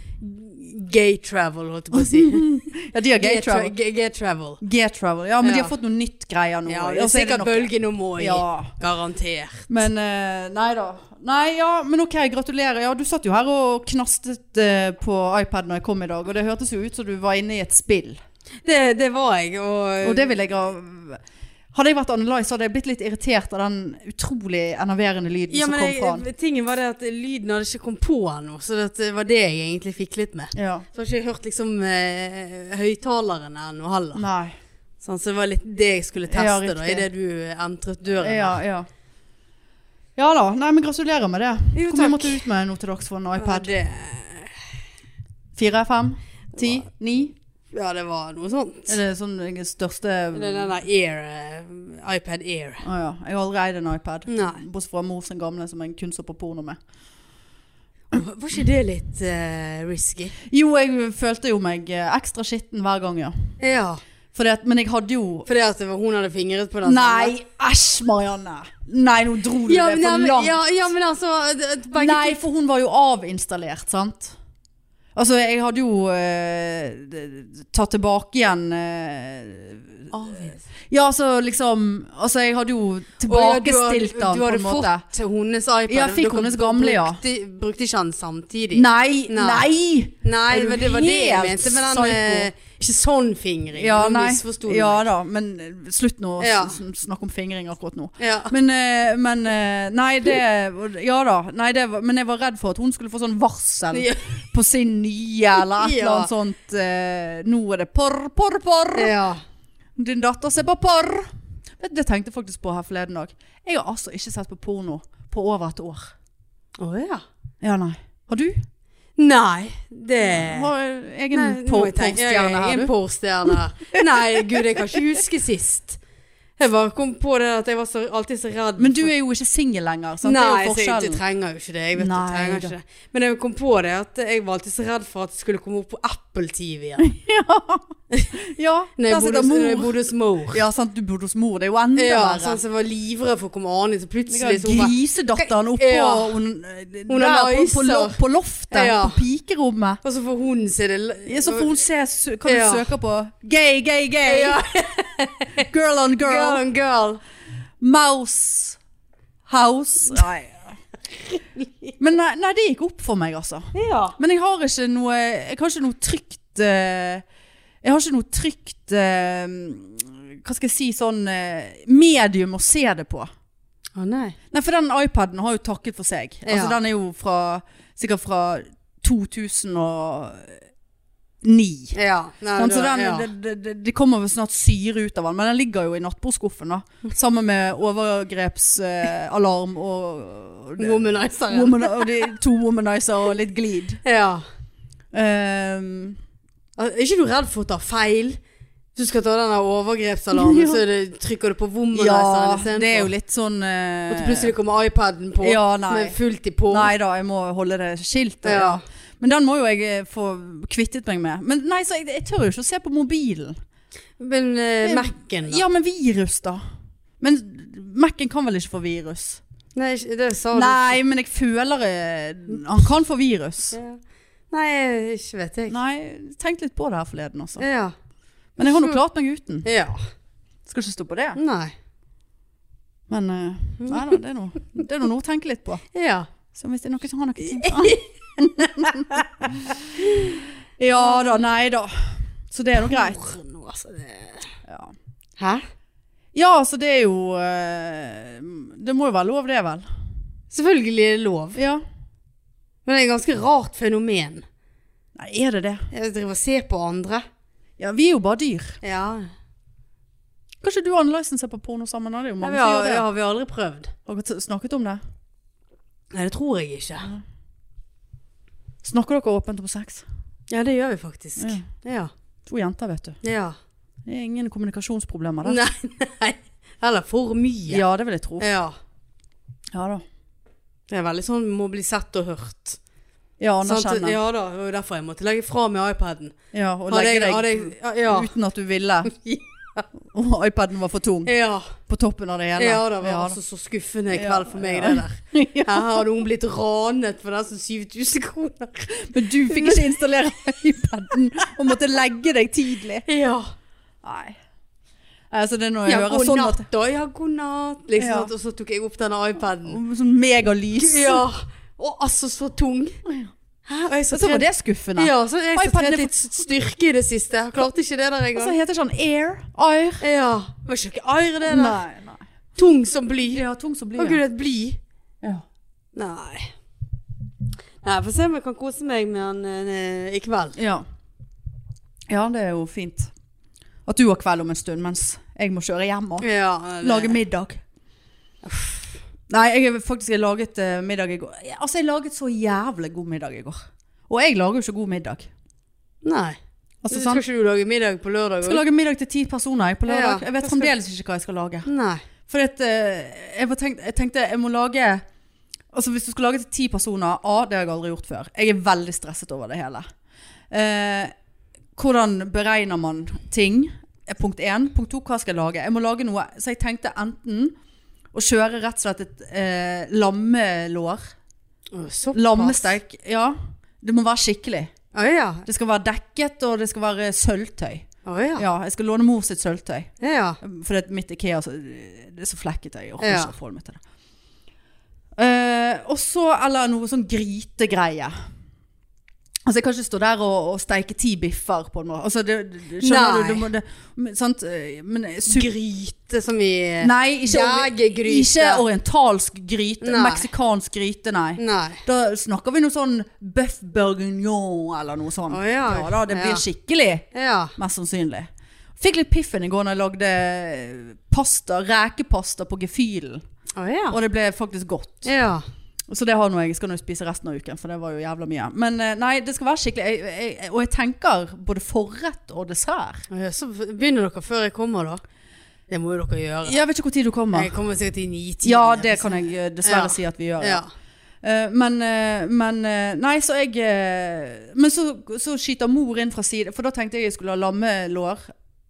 A: gay travel, holdt jeg på å si.
B: ja, de har
A: Gay
B: gay
A: tra-
B: travel.
A: gay- Gay travel.
B: G-travel. Ja, men de
A: Ja.
B: har fått noe nytt greier nå.
A: Ja, det
B: Og
A: er
B: så
A: sikkert
B: nok-
A: Bølgen og Moi.
B: Ja.
A: Garantert.
B: Men eh, nei da. Nei, ja, men ok, gratulerer. Ja, du satt jo her og knastet eh, på iPad når jeg kom i dag, og det hørtes jo ut som du var inne i et spill.
A: Det, det var jeg, og,
B: Og det vil jeg ha Hadde jeg vært annerledes, så hadde jeg blitt litt irritert av den utrolig enerverende lyden
A: ja,
B: som
A: men
B: kom fra han.
A: jeg, Tingen var det at lyden hadde ikke kommet på ennå, så det, det var det jeg egentlig fiklet med.
B: Ja.
A: Så har ikke jeg hørt liksom eh, høyttalerne ennå heller.
B: Nei.
A: Sånn, så det var litt det jeg skulle
B: Mm. Ja,
A: teste da,
B: riktig.
A: idet du entret døren.
B: Ja, ja. Ja da. Nei, men gratulerer med det.
A: Jo,
B: Hvor mye
A: takk.
B: måtte du ut med nå til dags for en
A: Ja,
B: iPad?
A: det,
B: Fire, fem, ti, ni?
A: Ja, det var noe sånt.
B: Er det sånn den største
A: Det er den der Air eh, iPad Air.
B: Å ja. Jeg har aldri eid en iPad.
A: Nei.
B: Bortsett fra mor sin gamle, som jeg kun så på porno med.
A: Var ikke det litt eh, risky?
B: Jo, jeg følte jo meg eh, ekstra skitten hver gang, ja.
A: Ja.
B: Fordi at, men jeg hadde jo
A: Fordi at det var, hun hadde fingret på den?
B: Nei, æsj, Marianne! Nei, nå dro du
A: Ja,
B: det
A: men, ja,
B: for
A: men,
B: langt.
A: ja, ja, men altså det- det- begge
B: Nei, for hun var jo avinstallert, sant? Altså, jeg hadde jo eh, d- tatt tilbake igjen eh,
A: to- Avvis.
B: Ja, altså liksom Altså, jeg hadde jo
A: Å, ja, du hadde-
B: tilbakestilt den,
A: Du
B: på
A: hadde
B: en måte.
A: fått hennes iPad.
B: Ja, jeg fikk
A: Dere
B: hennes gamle, ja.
A: Brukte, brukte ikke han samtidig?
B: Nei,
A: Nei.
B: nei! Er
A: Nei,
B: du
A: men det var det jeg
B: helt
A: mente med den
B: psyko?
A: eh, Ikke sånn fingring.
B: Ja,
A: Nå
B: nei.
A: misforsto du
B: Ja
A: meg.
B: da, men eh, slutt nå å
A: Ja.
B: s- s- snakke om fingring akkurat nå.
A: Ja.
B: Men, eh, men eh, Nei, det Ja da. Nei, det, var- men jeg var redd for at hun skulle få sånn varsel
A: Ja.
B: på sin nye, eller et
A: Ja.
B: eller annet sånt. eh, nå er det porr, porr, porr!
A: ja.
B: Din datter ser på porr! Vet du, Det tenkte jeg faktisk på her forleden dag. Jeg har altså ikke sett på porno på over et år.
A: Å ja.
B: Ja, nei. Har du?
A: Nei, det
B: Har egen
A: Nei, nå må jeg tenke- ja,
B: porrstjerne
A: jeg er
B: her,
A: En
B: du?
A: porrstjerne her. Nei, gud, jeg kan ikke huske sist. Jeg bare kom på det at jeg var så, alltid så redd.
B: Men du er jo ikke singel lenger. Sant?
A: Nei,
B: det er jo
A: så jeg
B: forskjellen.
A: jeg trenger jo ikke det. Jeg vet
B: Nei,
A: jeg trenger
B: da.
A: ikke det. Men jeg kom på det at jeg var alltid så redd for at det skulle komme opp på Apple TV igjen.
B: Ja,
A: Når
B: der
A: jeg bodde,
B: sitter
A: hos- når jeg
B: mor.
A: bodde hos mor.
B: Ja, sant, du bodde hos mor. Det er jo enda
A: Ja,
B: verre.
A: sånn som jeg var livredd for å komme an i, så plutselig så hun bare
B: Grisedatteren oppå
A: Ja.
B: hun,
A: Hun
B: der,
A: har
B: på, på,
A: nicer.
B: lo- på loftet,
A: Ja.
B: på pikerommet.
A: Og så får hun se det
B: Ja, så får hun se sø- hva du
A: Ja.
B: søker på. Gay, gay, gay.
A: Ja.
B: Girl on girl.
A: Girl and girl.
B: Mouse. House. Nei. Men nei, nei, det gikk opp for meg, altså.
A: Ja.
B: Men jeg har ikke noe Jeg har ikke noe trygt eh, Jeg har ikke noe trygt eh, Hva skal jeg si sånn eh, Medium å se det på
A: Å nei.
B: Nei, for den iPaden har jo takket for seg Altså
A: Ja.
B: den er jo fra Sikkert fra 2009
A: Ja. Nei,
B: Sånn, så
A: da-
B: den,
A: ja.
B: det, det- det, det kommer vel snart syre ut av den Men den ligger jo i nattbordskuffen da Sammen med overgrepsalarm Og, og,
A: Womanizer.
B: woman, og de, to womanizer og litt glid
A: Ja.
B: Ehm,
A: Altså, Er ikke du redd for å ta feil? Du skal ta den der overgrepsalarmen,
B: Ja.
A: så det, trykker du på womanizeren
B: Ja,
A: istedenfor.
B: det er jo litt sånn eh,
A: Og så plutselig kommer iPaden på
B: Ja, nei.
A: med fullt i på.
B: Nei da, jeg må holde det skiltet. Ja.
A: Ja.
B: Men den må jo jeg eh, få kvittet meg med. Men nei, så jeg, jeg tør jo ikke å se på mobilen.
A: Men uh, Mac-en, da?
B: Ja, men virus, da. Men Mac-en kan vel ikke få virus?
A: Nei, ikke- det sa du.
B: Nei, men jeg føler eh, Han kan få virus.
A: Ja. Nei, ikke vet jeg.
B: Nei, tenkte litt på det her forleden, altså.
A: Ja.
B: Men jeg har nå klart meg uten.
A: ja.
B: Skal ikke stå på det.
A: Nei.
B: Men eh, nei da, det er noe, det er noe å tenke litt på.
A: Ja.
B: Så hvis det er noen som har noe tips Ja da, nei da. Så det er nå greit.
A: Porno, altså. Det...
B: Ja.
A: Hæ?
B: ja, så det er jo eh, Det må jo være lov, det, vel?
A: Selvfølgelig er det lov.
B: Ja.
A: Men det er et ganske rart fenomen.
B: Nei, er det det?
A: Jeg driver og ser på andre.
B: Ja, vi er jo bare dyr.
A: Ja.
B: Kanskje du og Anne-Lysen ser på porno sammen? da? Det er jo
A: Nei,
B: mange
A: vi
B: som gjør
A: har,
B: det.
A: har vi aldri prøvd.
B: Har dere t- snakket om det?
A: Nei, det tror jeg ikke.
B: Snakker dere åpent om sex?
A: Ja, det gjør vi faktisk. Ja.
B: To jenter, vet du.
A: ja.
B: Det er ingen kommunikasjonsproblemer der.
A: Nei, nei. Eller for mye.
B: Ja, det vil jeg tro. Ja da.
A: Det er veldig sånn må bli sett og hørt.
B: Ja,
A: Sant?
B: anerkjenne.
A: Ja da, det var derfor jeg måtte legge fra meg iPaden.
B: Sånn Ja, og
A: Hadde
B: legge
A: jeg-
B: deg
A: hadde jeg- ja,
B: uten at du ville. Og iPaden var for tung
A: ja,
B: på toppen av det
A: ja,
B: hele.
A: ja, det var
B: Ja,
A: altså så skuffende i
B: Ja,
A: kveld for meg
B: ja.
A: det der. Her hadde hun blitt ranet for nesten 7000 kroner.
B: Men du fikk ikke installere iPaden og måtte legge deg tidlig.
A: Ja.
B: Nei. Altså det er når jeg
A: ja
B: hører
A: god
B: sånn
A: natt
B: at
A: da, ja god natt. Liksom,
B: Ja.
A: at- Og så tok jeg opp denne iPaden.
B: Sånn megalys.
A: Ja, og altså så tung. Hæ? Og jeg
B: Så,
A: så
B: var
A: trent-
B: det skuffende.
A: Ja, så jeg har
B: iPaden er
A: trent
B: for-
A: litt styrke i det siste. Jeg klarte ikke det der
B: Og så
A: engang.
B: heter det sånn Air. Air.
A: Ja. Det var ikke air, det der.
B: nei.
A: Tung som bly.
B: Ja, tung som
A: Å
B: blir
A: gud, et bly.
B: Ja.
A: Nei. Nei, Få se om jeg kan kose meg med han eh, i kveld.
B: ja. Ja, det er jo fint. At du har kveld om en stund, mens jeg må kjøre hjem og
A: Ja,
B: lage middag. Nei, jeg har faktisk jeg laget eh, middag i går. Altså, jeg laget så jævlig god middag i går. Og jeg lager jo ikke god middag.
A: Nei.
B: Altså,
A: Skal
B: sant?
A: ikke du lage middag på lørdag?
B: Jeg skal lage middag til ti personer jeg, på lørdag.
A: Ja,
B: jeg
A: hva
B: vet
A: skal-
B: fremdeles ikke hva jeg skal lage.
A: Nei.
B: For eh, jeg, var tenkt, jeg tenkte jeg må lage Altså hvis du skal lage til ti personer A, det har jeg aldri gjort før. Jeg er veldig stresset over det hele. Eh, hvordan beregner man ting? Eh, Punkt én. Punkt to, hva skal jeg lage? Jeg må lage noe. Så jeg tenkte enten å kjøre rett og slett et eh, lammelår.
A: Å, Såpass.
B: Lammestek. Ja. Det må være skikkelig.
A: Å ja.
B: Det skal være dekket, og det skal være sølvtøy.
A: Å ja.
B: Ja, jeg skal låne mor sitt sølvtøy.
A: Ja, ja.
B: For det, mitt IKEA så, det er så flekket jeg orker
A: Ja.
B: ikke å forholde meg til det. Eh, og så eller noe sånn grytegreie. Altså Jeg kan ikke stå der og, og steike ti biffer på noe. Altså, det, det, skjønner
A: Nei.
B: du? du må, det, men, sant? eh, Men sup-
A: Gryte som i
B: Nei, ikke, ori-
A: Jagergryte.
B: ikke orientalsk gryte.
A: Nei.
B: Meksikansk gryte, nei.
A: Nei.
B: Da snakker vi noe sånn bøff bourguignon eller noe sånt.
A: Å, ja.
B: da, det blir
A: Ja.
B: skikkelig.
A: Ja.
B: Mest sannsynlig. Fikk litt piffen i går når jeg lagde eh, pasta, rekepasta på gefühlen.
A: Å ja.
B: Og det ble faktisk godt.
A: Ja.
B: Så det har nå jeg skal nå spise resten av uken, for det var jo jævla mye. Men eh, nei, det skal være skikkelig. Jeg, jeg, jeg, og jeg tenker både forrett og dessert.
A: Å, ja. Så begynner dere før jeg kommer, da. Det må jo dere gjøre.
B: Jeg vet ikke når du kommer.
A: Jeg kommer sikkert i nitiden.
B: Ja, det kan jeg eh,
A: Ja.
B: dessverre si at vi gjør. Ja.
A: Ja.
B: Eh, men, eh, men eh, Nei, så jeg eh, Men så, så skyter mor inn fra side For da tenkte jeg jeg skulle ha lammelår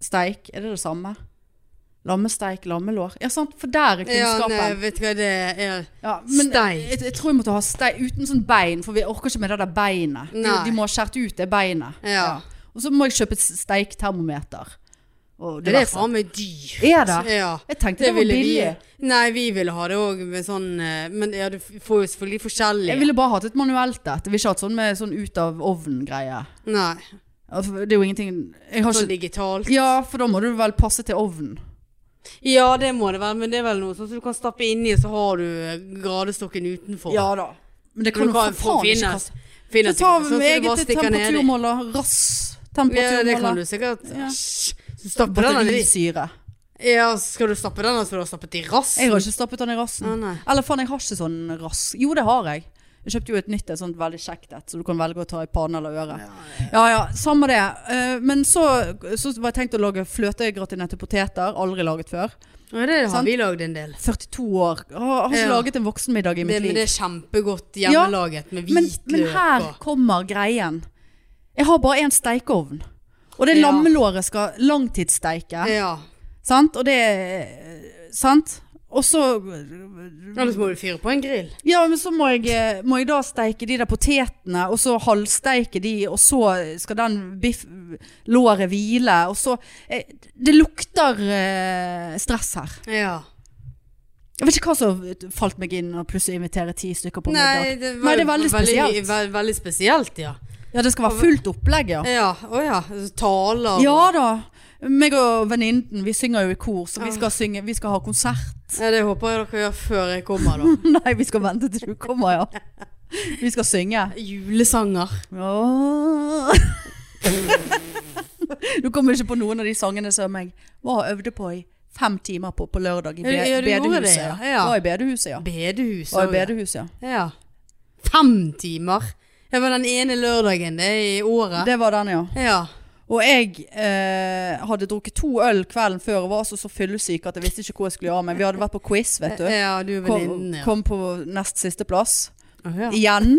B: Steik, er det det samme? Lammesteik, lammelår Ja, sant, for der er
A: ja nei,
B: kunnskapen
A: vet du hva det er?
B: ja, men
A: steik.
B: Jeg, jeg tror jeg måtte ha steik uten sånn bein For vi orker ikke med det der beinet de,
A: Nei.
B: de må ha skjert ut det beinet
A: Ja.
B: Og så må jeg kjøpe et steiktermometer Og
A: Det er
B: diverse.
A: faen meg dyrt.
B: Er det?
A: Ja.
B: Jeg tenkte det, var
A: ville
B: billig
A: Vi, nei, vi ville ha det òg med sånn eh, Men ja, du f- får jo selvfølgelig forskjellige.
B: Jeg ville bare hatt et manuelt et Jeg ville ikke hatt sånn med sånn ut av ovnen greie
A: Nei.
B: Altså, Det er jo ingenting jeg har
A: Sånn
B: ikke,
A: digitalt.
B: Ja, for da må du vel passe til ovnen.
A: Ja, det må det være, men det er vel noe sånn som du kan stappe inni, så har du eh, gradestokken utenfor.
B: da. Men det
A: Men
B: kan
A: du
B: jo for
A: kan få
B: faen ikke
A: finnes.
B: kaste. Så
A: finnes
B: ta
A: ikke, sånn
B: med
A: som du bare
B: eget
A: stikker ned i.
B: temperaturmåler. Rass
A: Ja, det kan
B: temperaturmåler.
A: du sikkert.
B: Ja.
A: Hysj. Så stapper den nedi.
B: Batterisyre.
A: Ja, skal du stappe den, så du har stappet i
B: Jeg
A: rassen?
B: har ikke stappet den i rassen.
A: Å, nei.
B: Eller faen, jeg har ikke sånn rass. Jo, det har jeg. Jeg kjøpte jo et nytt, et sånt veldig kjekt et, så du kan velge å ta i pannen eller øret. Ja ja, samme det. Eh, Men så, så var jeg tenkt å lage fløtegratinerte poteter. Aldri laget før.
A: Ja, det har
B: Sant.
A: vi lagd en del.
B: 42 år. Har, har ikke
A: Ja.
B: laget en voksenmiddag i
A: Det,
B: mitt
A: men
B: liv.
A: det er kjempegodt hjemmelaget med
B: men,
A: hvitløk
B: men her
A: og
B: kommer greien. Jeg har bare én steikeovn. Og det
A: Ja.
B: lammelåret skal langtidssteike.
A: Ja.
B: Sant? Og det Sant? Og så
A: Ellers må du fyre på en grill.
B: Ja, men så må jeg, må jeg da steike de der potetene, og så halvsteike de, og så skal den biff låret hvile, og så eh, Det lukter eh, stress her.
A: Ja.
B: Jeg vet ikke hva som falt meg inn å plutselig invitere ti stykker på middag.
A: Nei, det,
B: Nei,
A: var
B: det er veldig spesielt.
A: Veldig, ve- veldig spesielt, ja.
B: Ja, det skal være fullt opplegg, ja.
A: Ja, å ja. Taler og- Ah.
B: Ja da. Meg og venninnen, vi synger jo i kor, så vi skal, synge, vi skal ha konsert.
A: Ja, Det håper jeg dere gjør før jeg kommer, da.
B: Nei, vi skal vente til du kommer, ja. Vi skal synge.
A: Julesanger.
B: Åh. Du kommer ikke på noen av de sangene som jeg var og øvde på i fem timer på på lørdag i be
A: Ja, ja, du gjorde
B: bedehuset.
A: det, ja.
B: ja.
A: Ja.
B: Var i bedehuset, ja.
A: Bedehus.
B: Var i
A: også, ja.
B: bedehuset, ja.
A: ja. Fem timer. Det var den ene lørdagen det er i året.
B: Det var den, ja.
A: Ja.
B: Og jeg eh, hadde drukket to øl kvelden før og var altså så fyllesyk at jeg visste ikke hvor jeg skulle gjøre av meg. Vi hadde vært på quiz, vet du.
A: Ja, du er
B: Kom,
A: Eh, venninnen, ja.
B: kom på nest siste plass.
A: Å, ja.
B: igjen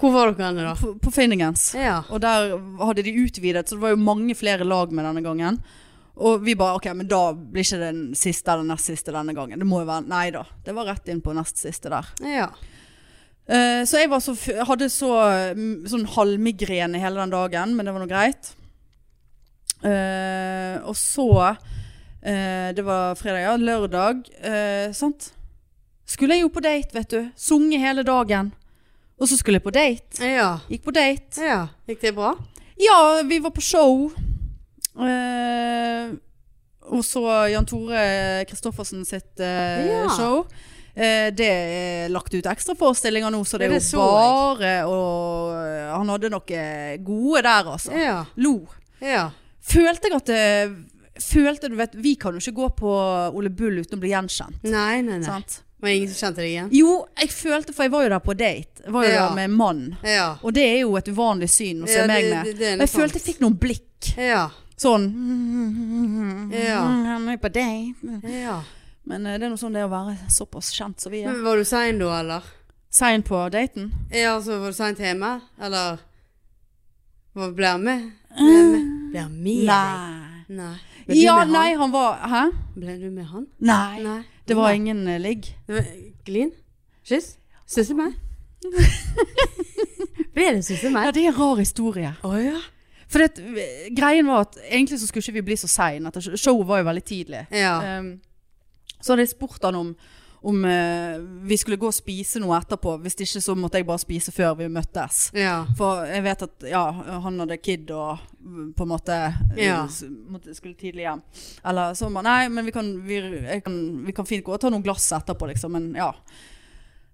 A: Hvor var dere henne, da?
B: på, på Finningens.
A: Ja.
B: Og der hadde de utvidet, så det var jo mange flere lag med denne gangen. Og vi bare, ok, men da blir ikke den siste eller nest siste denne gangen. Det må jo være, nei da. Det var rett inn på nest siste der.
A: Ja.
B: Eh, så jeg var så, f- hadde så, mm, sånn halvmigrene hele den dagen, men det var noe greit. Eh, og så, eh, det var fredag, ja, lørdag, eh, sant? Skulle jeg jo på date, vet du. Sunge hele dagen. Og så skulle jeg på date.
A: ja.
B: Gikk på date.
A: Ja. Gikk det bra?
B: Ja, vi var på show. Eh, og så Jan Tore Kristoffersen sitt eh,
A: Ja.
B: show. Eh, det er lagt ut ekstraforestillinger nå, så det
A: Ja,
B: er
A: det
B: jo
A: så jeg.
B: bare og Han hadde noe gode der, altså.
A: Ja.
B: Lo.
A: Ja.
B: Følte jeg at eh, det Følte, du vet, Vi kan jo ikke gå på Ole Bull uten å bli gjenkjent.
A: Nei, nei, nei.
B: Sant?
A: Var det ingen som kjente deg igjen?
B: Jo, jeg følte, for jeg var jo der på date. Jeg var jo
A: Ja.
B: der med en mann.
A: Ja.
B: Og det er jo et uvanlig syn å se
A: Ja,
B: meg
A: det-
B: med.
A: det- det er
B: Men jeg
A: sant.
B: følte jeg fikk noen blikk.
A: Ja.
B: Sånn
A: Ja.
B: Han er på date.
A: ja.
B: Men eh, det er noe sånn det å være såpass kjent som vi er.
A: Men var du sein da, eller?
B: Sein på daten?
A: Ja, altså var du seint hjemme? Eller Hva ble han med? Ble han med, ble han
B: Mm.
A: med deg?
B: Nei.
A: Nei. Ble du
B: Ja,
A: med
B: nei, han var Hæ?
A: Han? Ble du med han?
B: Nei.
A: Nei.
B: Det var
A: Nei.
B: ingen eh, ligg.
A: Det var- Glin? Kyss? Susse meg? ble det susse
B: Ja,
A: meg?
B: det er en rar historie.
A: Å ja.
B: For det, at- greien var at egentlig så skulle ikke vi bli så sein. at Showet var jo veldig tidlig.
A: Ja.
B: Ehm, så hadde jeg spurt han om, om eh, vi skulle gå og spise noe etterpå. Hvis ikke så måtte jeg bare spise før vi møttes.
A: Ja.
B: For jeg vet at ja, han hadde kid og mm, på en måte eh,
A: Ja.
B: s- måtte, skulle tidlig hjem. Eller så bare Nei, men vi kan, vi, jeg kan, vi kan fint gå og ta noen glass etterpå, liksom. Men ja.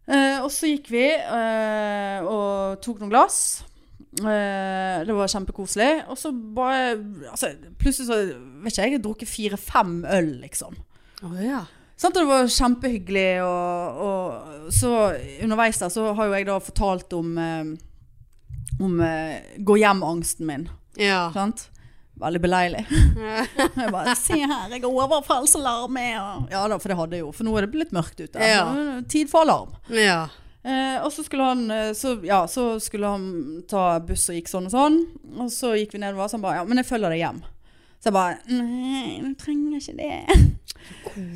B: Eh, og så gikk vi eh, og tok noen glass. Eh, det var kjempekoselig. Og så bare altså, Plutselig så Vet ikke, jeg har drukket fire-fem øl, liksom.
A: Å ja.
B: Sant, og det var kjempehyggelig, og, og så underveis der så har jo jeg da fortalt om, eh, om eh, gå-hjem-angsten min.
A: Ja.
B: Sant? Veldig beleilig. Jeg bare, Se her, jeg har overfallsalarm! jeg», og- Ja da, for det hadde jeg jo. For nå er det blitt mørkt ute.
A: Ja.
B: Så, Tid for alarm.
A: Ja.
B: Eh, og så skulle han eh, så, Ja, så skulle han ta buss og gikk sånn og sånn. Og så gikk vi nedover, så han bare Ja, men jeg følger deg hjem. Så jeg bare Nei, du trenger ikke det.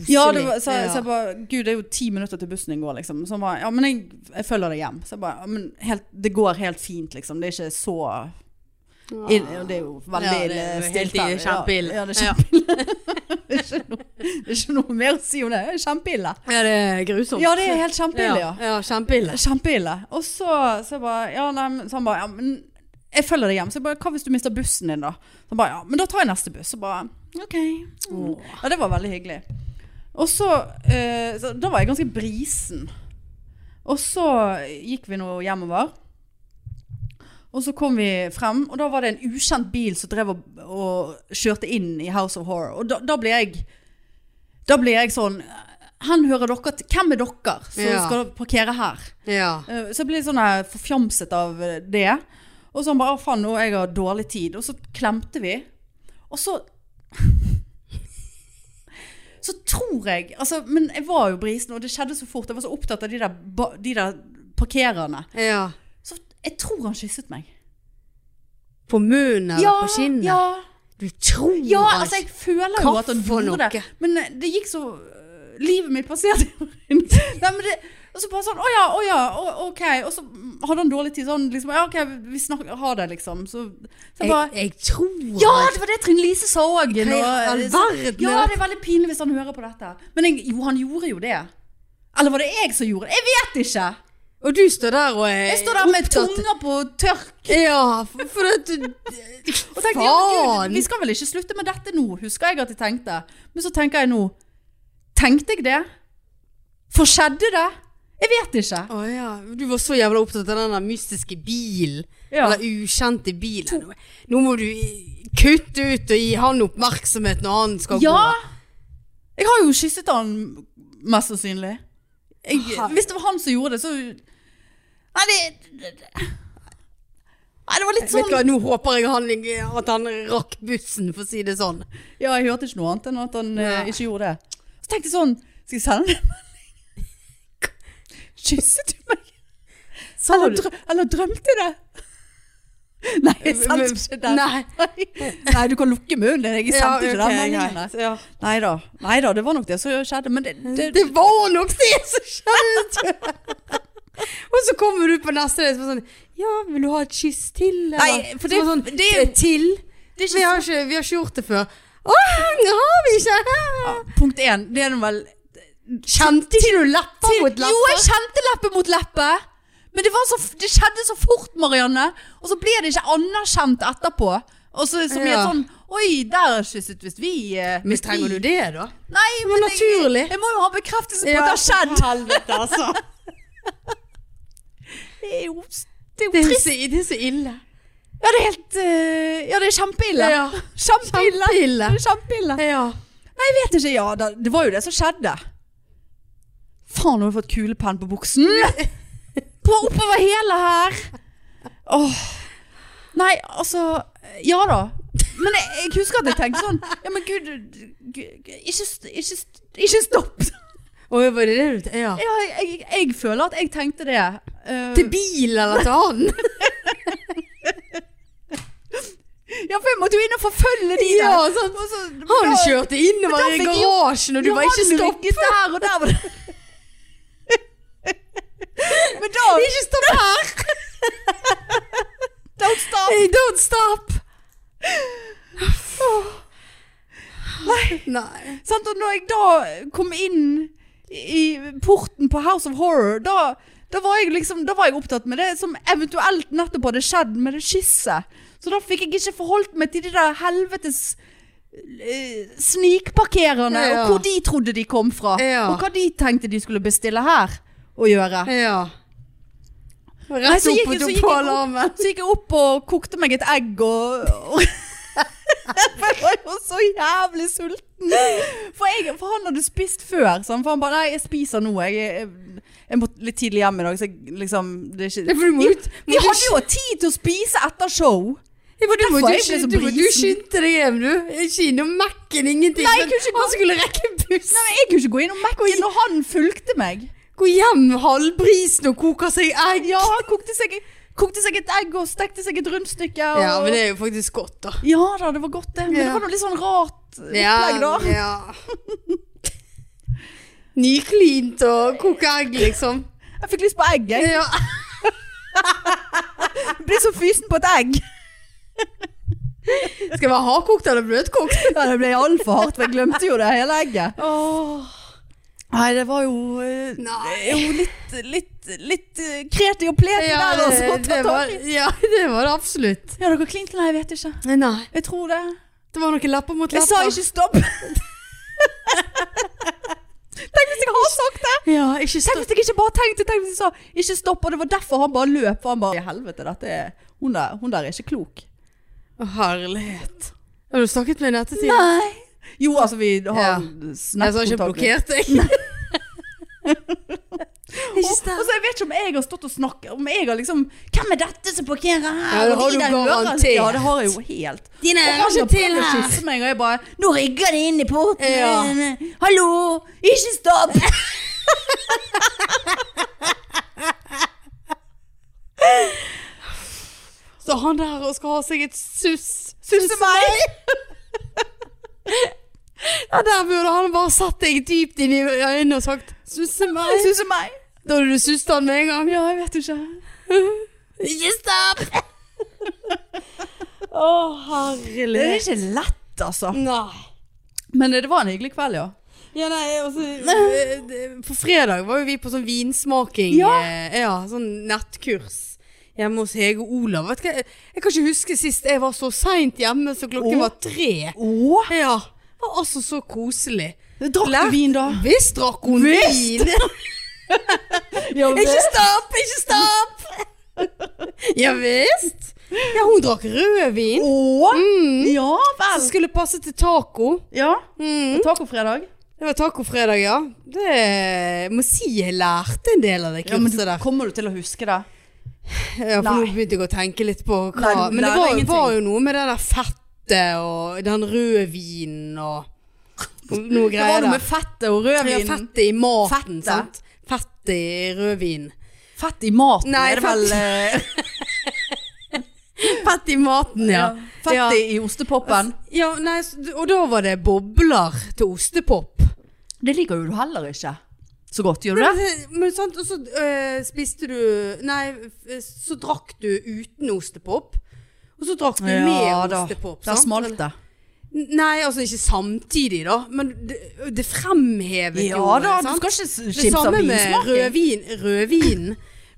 B: Ja, det var, så,
A: Ja.
B: så jeg bare Gud, det er jo ti minutter til bussen din går, liksom. Så han bare Ja, men jeg, jeg følger deg hjem. Så jeg bare «Ja, men helt, Det går helt fint, liksom. Det er ikke så ille. Og det er jo veldig
A: Ja, det
B: ille
A: er jo helt
B: stilt
A: ille,
B: her.
A: kjempeille.
B: Ja, ja, det er kjempeille. det, er ikke noe, det er ikke noe mer å si om det. Det er kjempeille.
A: Ja, det er grusomt.
B: Ja, det er helt kjempeille, ja.
A: ja. ja kjempeille.
B: Kjempeille. Og så, så jeg bare ja, nei, men- Så han bare ja, men jeg følger deg hjem. Så jeg bare hva hvis du mister bussen din, da? Så han bare ja, men da tar jeg neste buss. Så bare OK. Mm. Ja, det var veldig hyggelig. Og så, eh, så Da var jeg ganske brisen. Og så gikk vi nå hjemover. Og så kom vi frem, og da var det en ukjent bil som drev og, og kjørte inn i House of Horror. Og da, da ble jeg Da ble jeg sånn Hen hører dere til? Hvem er dere som
A: Ja.
B: skal parkere her?
A: Ja.
B: Eh, Så jeg ble litt sånn her forfjamset av eh, det. Og så han bare «Å, 'faen, nå jeg har dårlig tid'. Og så klemte vi. Og så Så tror jeg altså, Men jeg var jo brisen, og det skjedde så fort. Jeg var så opptatt av de der, ba- de der parkererne.
A: ja.
B: Så jeg tror han kysset meg.
A: På munnen eller på kinnet?
B: ja,
A: Du tror
B: ja,
A: han-
B: altså jeg føler jo
A: Hva
B: at han
A: for
B: gjorde det.
A: noe?
B: Men eh, det gikk så øh, Livet mitt passerte jo rundt. Nei, men det og så bare sånn Å ja, å ja, å, ok. Og så hadde han dårlig tid. Sånn liksom Ja, ok, vi snakker Ha det, liksom. Så, så jeg
A: jeg,
B: bare
A: jeg tror
B: Ja, det var det Trine Lise sa òg.
A: Hva i all verden?
B: Ja, det er veldig pinlig hvis han hører på dette. Men jeg, jo, han gjorde jo det. Eller var det jeg som gjorde det? Jeg vet ikke.
A: Og du står der og er
B: Jeg står der med
A: opptatt-
B: tunga på tørk.
A: Ja, for, for at du
B: Og tenkte, ja, men
A: Faen!
B: Gud, vi skal vel ikke slutte med dette nå, husker jeg at jeg tenkte. Men så tenker jeg nå, tenkte jeg det? For skjedde det? Jeg vet ikke.
A: Å ja. Du var så jævla opptatt av den der mystiske bilen.
B: Ja.
A: Eller ukjente bilen. Nå- Nå må du i- kutte ut og gi han oppmerksomhet når han skal
B: Ja,
A: gå.
B: jeg har jo kysset han mest sannsynlig. Jeg,
A: Ha-
B: hvis det var han som gjorde det, så... Nei, det... det- det- Nei, det var litt
A: Vet du
B: sånn...
A: hva, Nå håper jeg han, at han rakk bussen, for å si det sånn.
B: Ja, jeg hørte ikke noe annet enn at han eh,
A: Nei.
B: ikke gjorde det. Så tenkte jeg sånn, skal jeg sende en melding? Kysset du meg? Eller,
A: du-
B: drø- eller drømte jeg det? Nei, jeg sendte ikke den.
A: Nei.
B: Nei, du kan lukke munnen. din. Jeg sendte ikke den
A: ok,
B: meldingen.
A: greit, ja.
B: Nei da. Nei da, det var nok det som skjedde. Men det, det,
A: Det var nok det som skjedde! og så kommer du på neste dag og sånn Ja, vil du ha et kyss til? Eller?
B: Nei, for det-
A: Så sånn,
B: det-
A: det er til.
B: det er
A: vi,
B: ikke
A: har ikke, vi har ikke gjort det før. Å, det har vi ikke!
B: Punkt én, det er nå vel
A: Kjente ikke du leppa
B: til,
A: mot
B: Jo, jeg
A: leppa?
B: kjente leppe mot leppe. Men det, var så, f- det skjedde så fort, Marianne. Og så ble det ikke anerkjent etterpå. Og så så blir det
A: Ja.
B: sånn Oi, der kysset visst vi eh, hvis vi-
A: Mistrenger du det, da?
B: Nei, men jeg-
A: naturlig.
B: Jeg, må jo ha bekreftelse på at det har skjedd.
A: Helvete, altså.
B: Det er jo, det er
A: Det
B: jo
A: er,
B: trist.
A: så, det er så ille.
B: Ja, det er helt eh, Ja, det er kjempeille.
A: Ja.
B: Kjempeille.
A: Kjempeille.
B: Det er kjempeille.
A: Ja.
B: Nei, jeg vet ikke. Ja, da, det var jo det som skjedde. Faen, har du fått kulepenn på buksen? På oppover hele her! Åh. Nei, altså Ja da. Men jeg, jeg husker at jeg tenkte sånn Ja, men gud, gud ikke, st- ikke, st- ikke stopp!
A: Oi, var det det du te- Ja.
B: Ja, jeg, jeg, jeg føler at jeg tenkte det. Eh,
A: Til bil eller til han?
B: Um, ja, for jeg måtte jo inn og forfølge de
A: ja,
B: der.
A: sånn.
B: Og så,
A: Han kjørte innover
B: Men da
A: i
B: fikk jo-
A: garasjen, og du var ikke stopp.
B: Der og der var det. Men da
A: Ikke stopp her!
B: Don't stop!
A: Hey, don't stop! Nei.
B: Sant? Og når jeg da kom inn i porten på House of Horror, da, da, var jeg liksom, da var jeg opptatt med det som eventuelt nettopp hadde skjedd med det kysset. Så da fikk jeg ikke forholdt meg til de der helvetes eh, snikparkererne,
A: Ja, ja.
B: og hvor de trodde de kom fra.
A: Ja.
B: Og hva de tenkte de skulle bestille her og gjøre.
A: Ja. Rett
B: Nei, så gikk-
A: opp og
B: så
A: tok
B: gikk
A: på
B: jeg opp.
A: alarmen.
B: Så gikk jeg opp og kokte meg et egg og, og For jeg var jo så jævlig sulten. For, jeg, for han hadde spist før. Så han, for han bare Nei, jeg spiser nå. Jeg, jeg, jeg må litt tidlig hjem i dag, så jeg liksom det er
A: Nei,
B: ikke,
A: for du må ut.
B: Vi hadde jo tid til å spise etter show.
A: Ja, for du,
B: Derfor
A: må, du,
B: er jeg ble så
A: du, må- du
B: brisen.
A: skyndte deg hjem, du. Ikke innom Mac-en, ingenting.
B: Nei, jeg
A: men
B: kunne ikke gå-
A: Han skulle rekke bussen.
B: Nei, men Jeg kunne ikke gå inn og mekke når han fulgte meg.
A: Gå hjem halvbrisen og koke seg egg.
B: Ja, han kokte seg, kokte seg et egg og stekte seg et rundstykke. Og,
A: Ja, men det er jo faktisk godt, da.
B: ja da, det var godt det. Men
A: Ja.
B: det var noe litt sånn rart opplegg da.
A: Ja. ja. Nyklint og koke egg, liksom.
B: Jeg fikk lyst på egg. Jeg.
A: Ja.
B: Jeg Blir så fysen på et egg.
A: Skal det være hardkokt eller bløtkokt?
B: Ja, det ble altfor hardt, for jeg glemte jo det hele egget.
A: Åh.
B: Nei, det var jo, eh,
A: Nei.
B: jo litt, litt, litt eh, kreti og pleti
A: Ja,
B: der, altså.
A: det, det var, ja, det var det absolutt.
B: Ja, dere klinte? Nei, jeg vet ikke.
A: Nei.
B: Jeg tror det.
A: Det var noen lepper mot
B: Jeg
A: lepper.
B: sa ikke stopp. Tenk hvis jeg har sagt det!
A: Ja, ikke
B: Tenk hvis jeg ikke bare tenkte, tenk hvis jeg sa ikke stopp, og det var derfor han bare løp. for Han bare, "I helvete, dette er, hun der, hun der er ikke klok.
A: Å, herlighet. Har du snakket med henne i ettertid?
B: Nei. Jo, altså, vi har
A: Ja. Jeg sa
B: snakket
A: ikke blokkert deg. ikke
B: Og, og så jeg vet ikke om jeg har stått og snakket Om jeg har liksom Hvem er dette som parkerer her?
A: Ja, det
B: Og
A: har
B: de
A: du
B: der hører-
A: garantert.
B: Ja, det har jeg jo helt
A: Dine
B: Og han har prøvd å kysse meg Og jeg bare Nå rygger det inn i porten
A: Ja.
B: Hallo Ikke stopp
A: Så han der og skal ha seg et suss.
B: Synes du meg?
A: Ja, der burde han bare satt deg dypt inn i øynene og sagt 'susse meg'.
B: Synes du meg?
A: Da hadde du susset han med en gang.
B: Ja, jeg vet ikke
A: Ikke stopp! Å,
B: Det er
A: herlig.
B: ikke lett altså
A: Nei.
B: Men eh, det var en hyggelig kveld, ja
A: Ja, nei, altså eh, det- På fredag var jo vi på sånn vinsmaking.
B: Ja.
A: eh, ja sånn nettkurs. Hjemme hos Hege og Olav. Vet du hva, jeg, jeg kan ikke huske sist jeg var så seint hjemme, så klokken
B: Åh.
A: var tre.
B: Åh
A: Ja. Det var altså så koselig.
B: Drakk
A: Lær-
B: du vin da?
A: Visst drakk hun
B: Visst!
A: vin!
B: Ja,
A: Ikke stopp, ikke stopp! ja visst. Ja, hun drakk rødvin.
B: Åh
A: Mm.
B: Ja,
A: Som
B: vel
A: skulle passe til taco.
B: Ja
A: Mm.
B: Tacofredag
A: Det var tacofredag, ja. Det jeg må si jeg lærte en del av det
B: Ja, men du,
A: kurset der.
B: kommer du til å huske det?
A: Ja, for
B: Nei.
A: nå begynte jeg å tenke litt på hva
B: Nei, du
A: Men det
B: lærer
A: var,
B: ingenting.
A: var jo noe med det der fettet og den rødvinen og og noe
B: Det var
A: greier
B: noe med
A: der.
B: fettet og
A: Ja,
B: rødvin
A: fettet i maten,
B: Fettet.
A: sant. Fettet i rødvin.
B: Fett i maten
A: Nei,
B: er det vel eh,
A: Fett i maten, ja.
B: Fett
A: Ja.
B: i ostepoppen.
A: Ja, nei, s- og da var det bobler til ostepop.
B: Det liker jo du heller ikke så godt, gjør du det?
A: Men, eh, men sant, og så øh, spiste du Nei, f- så drakk du uten ostepop. Og så drakk du med ostepop.
B: Der
A: sant?
B: smalt det.
A: Nei, altså ikke samtidig, da. Men det, det fremhevet jo.
B: Ja da, du
A: sant?
B: skal ikke s-
A: Det
B: skimse av
A: samme med
B: vinsmaken.
A: rødvin. rødvin.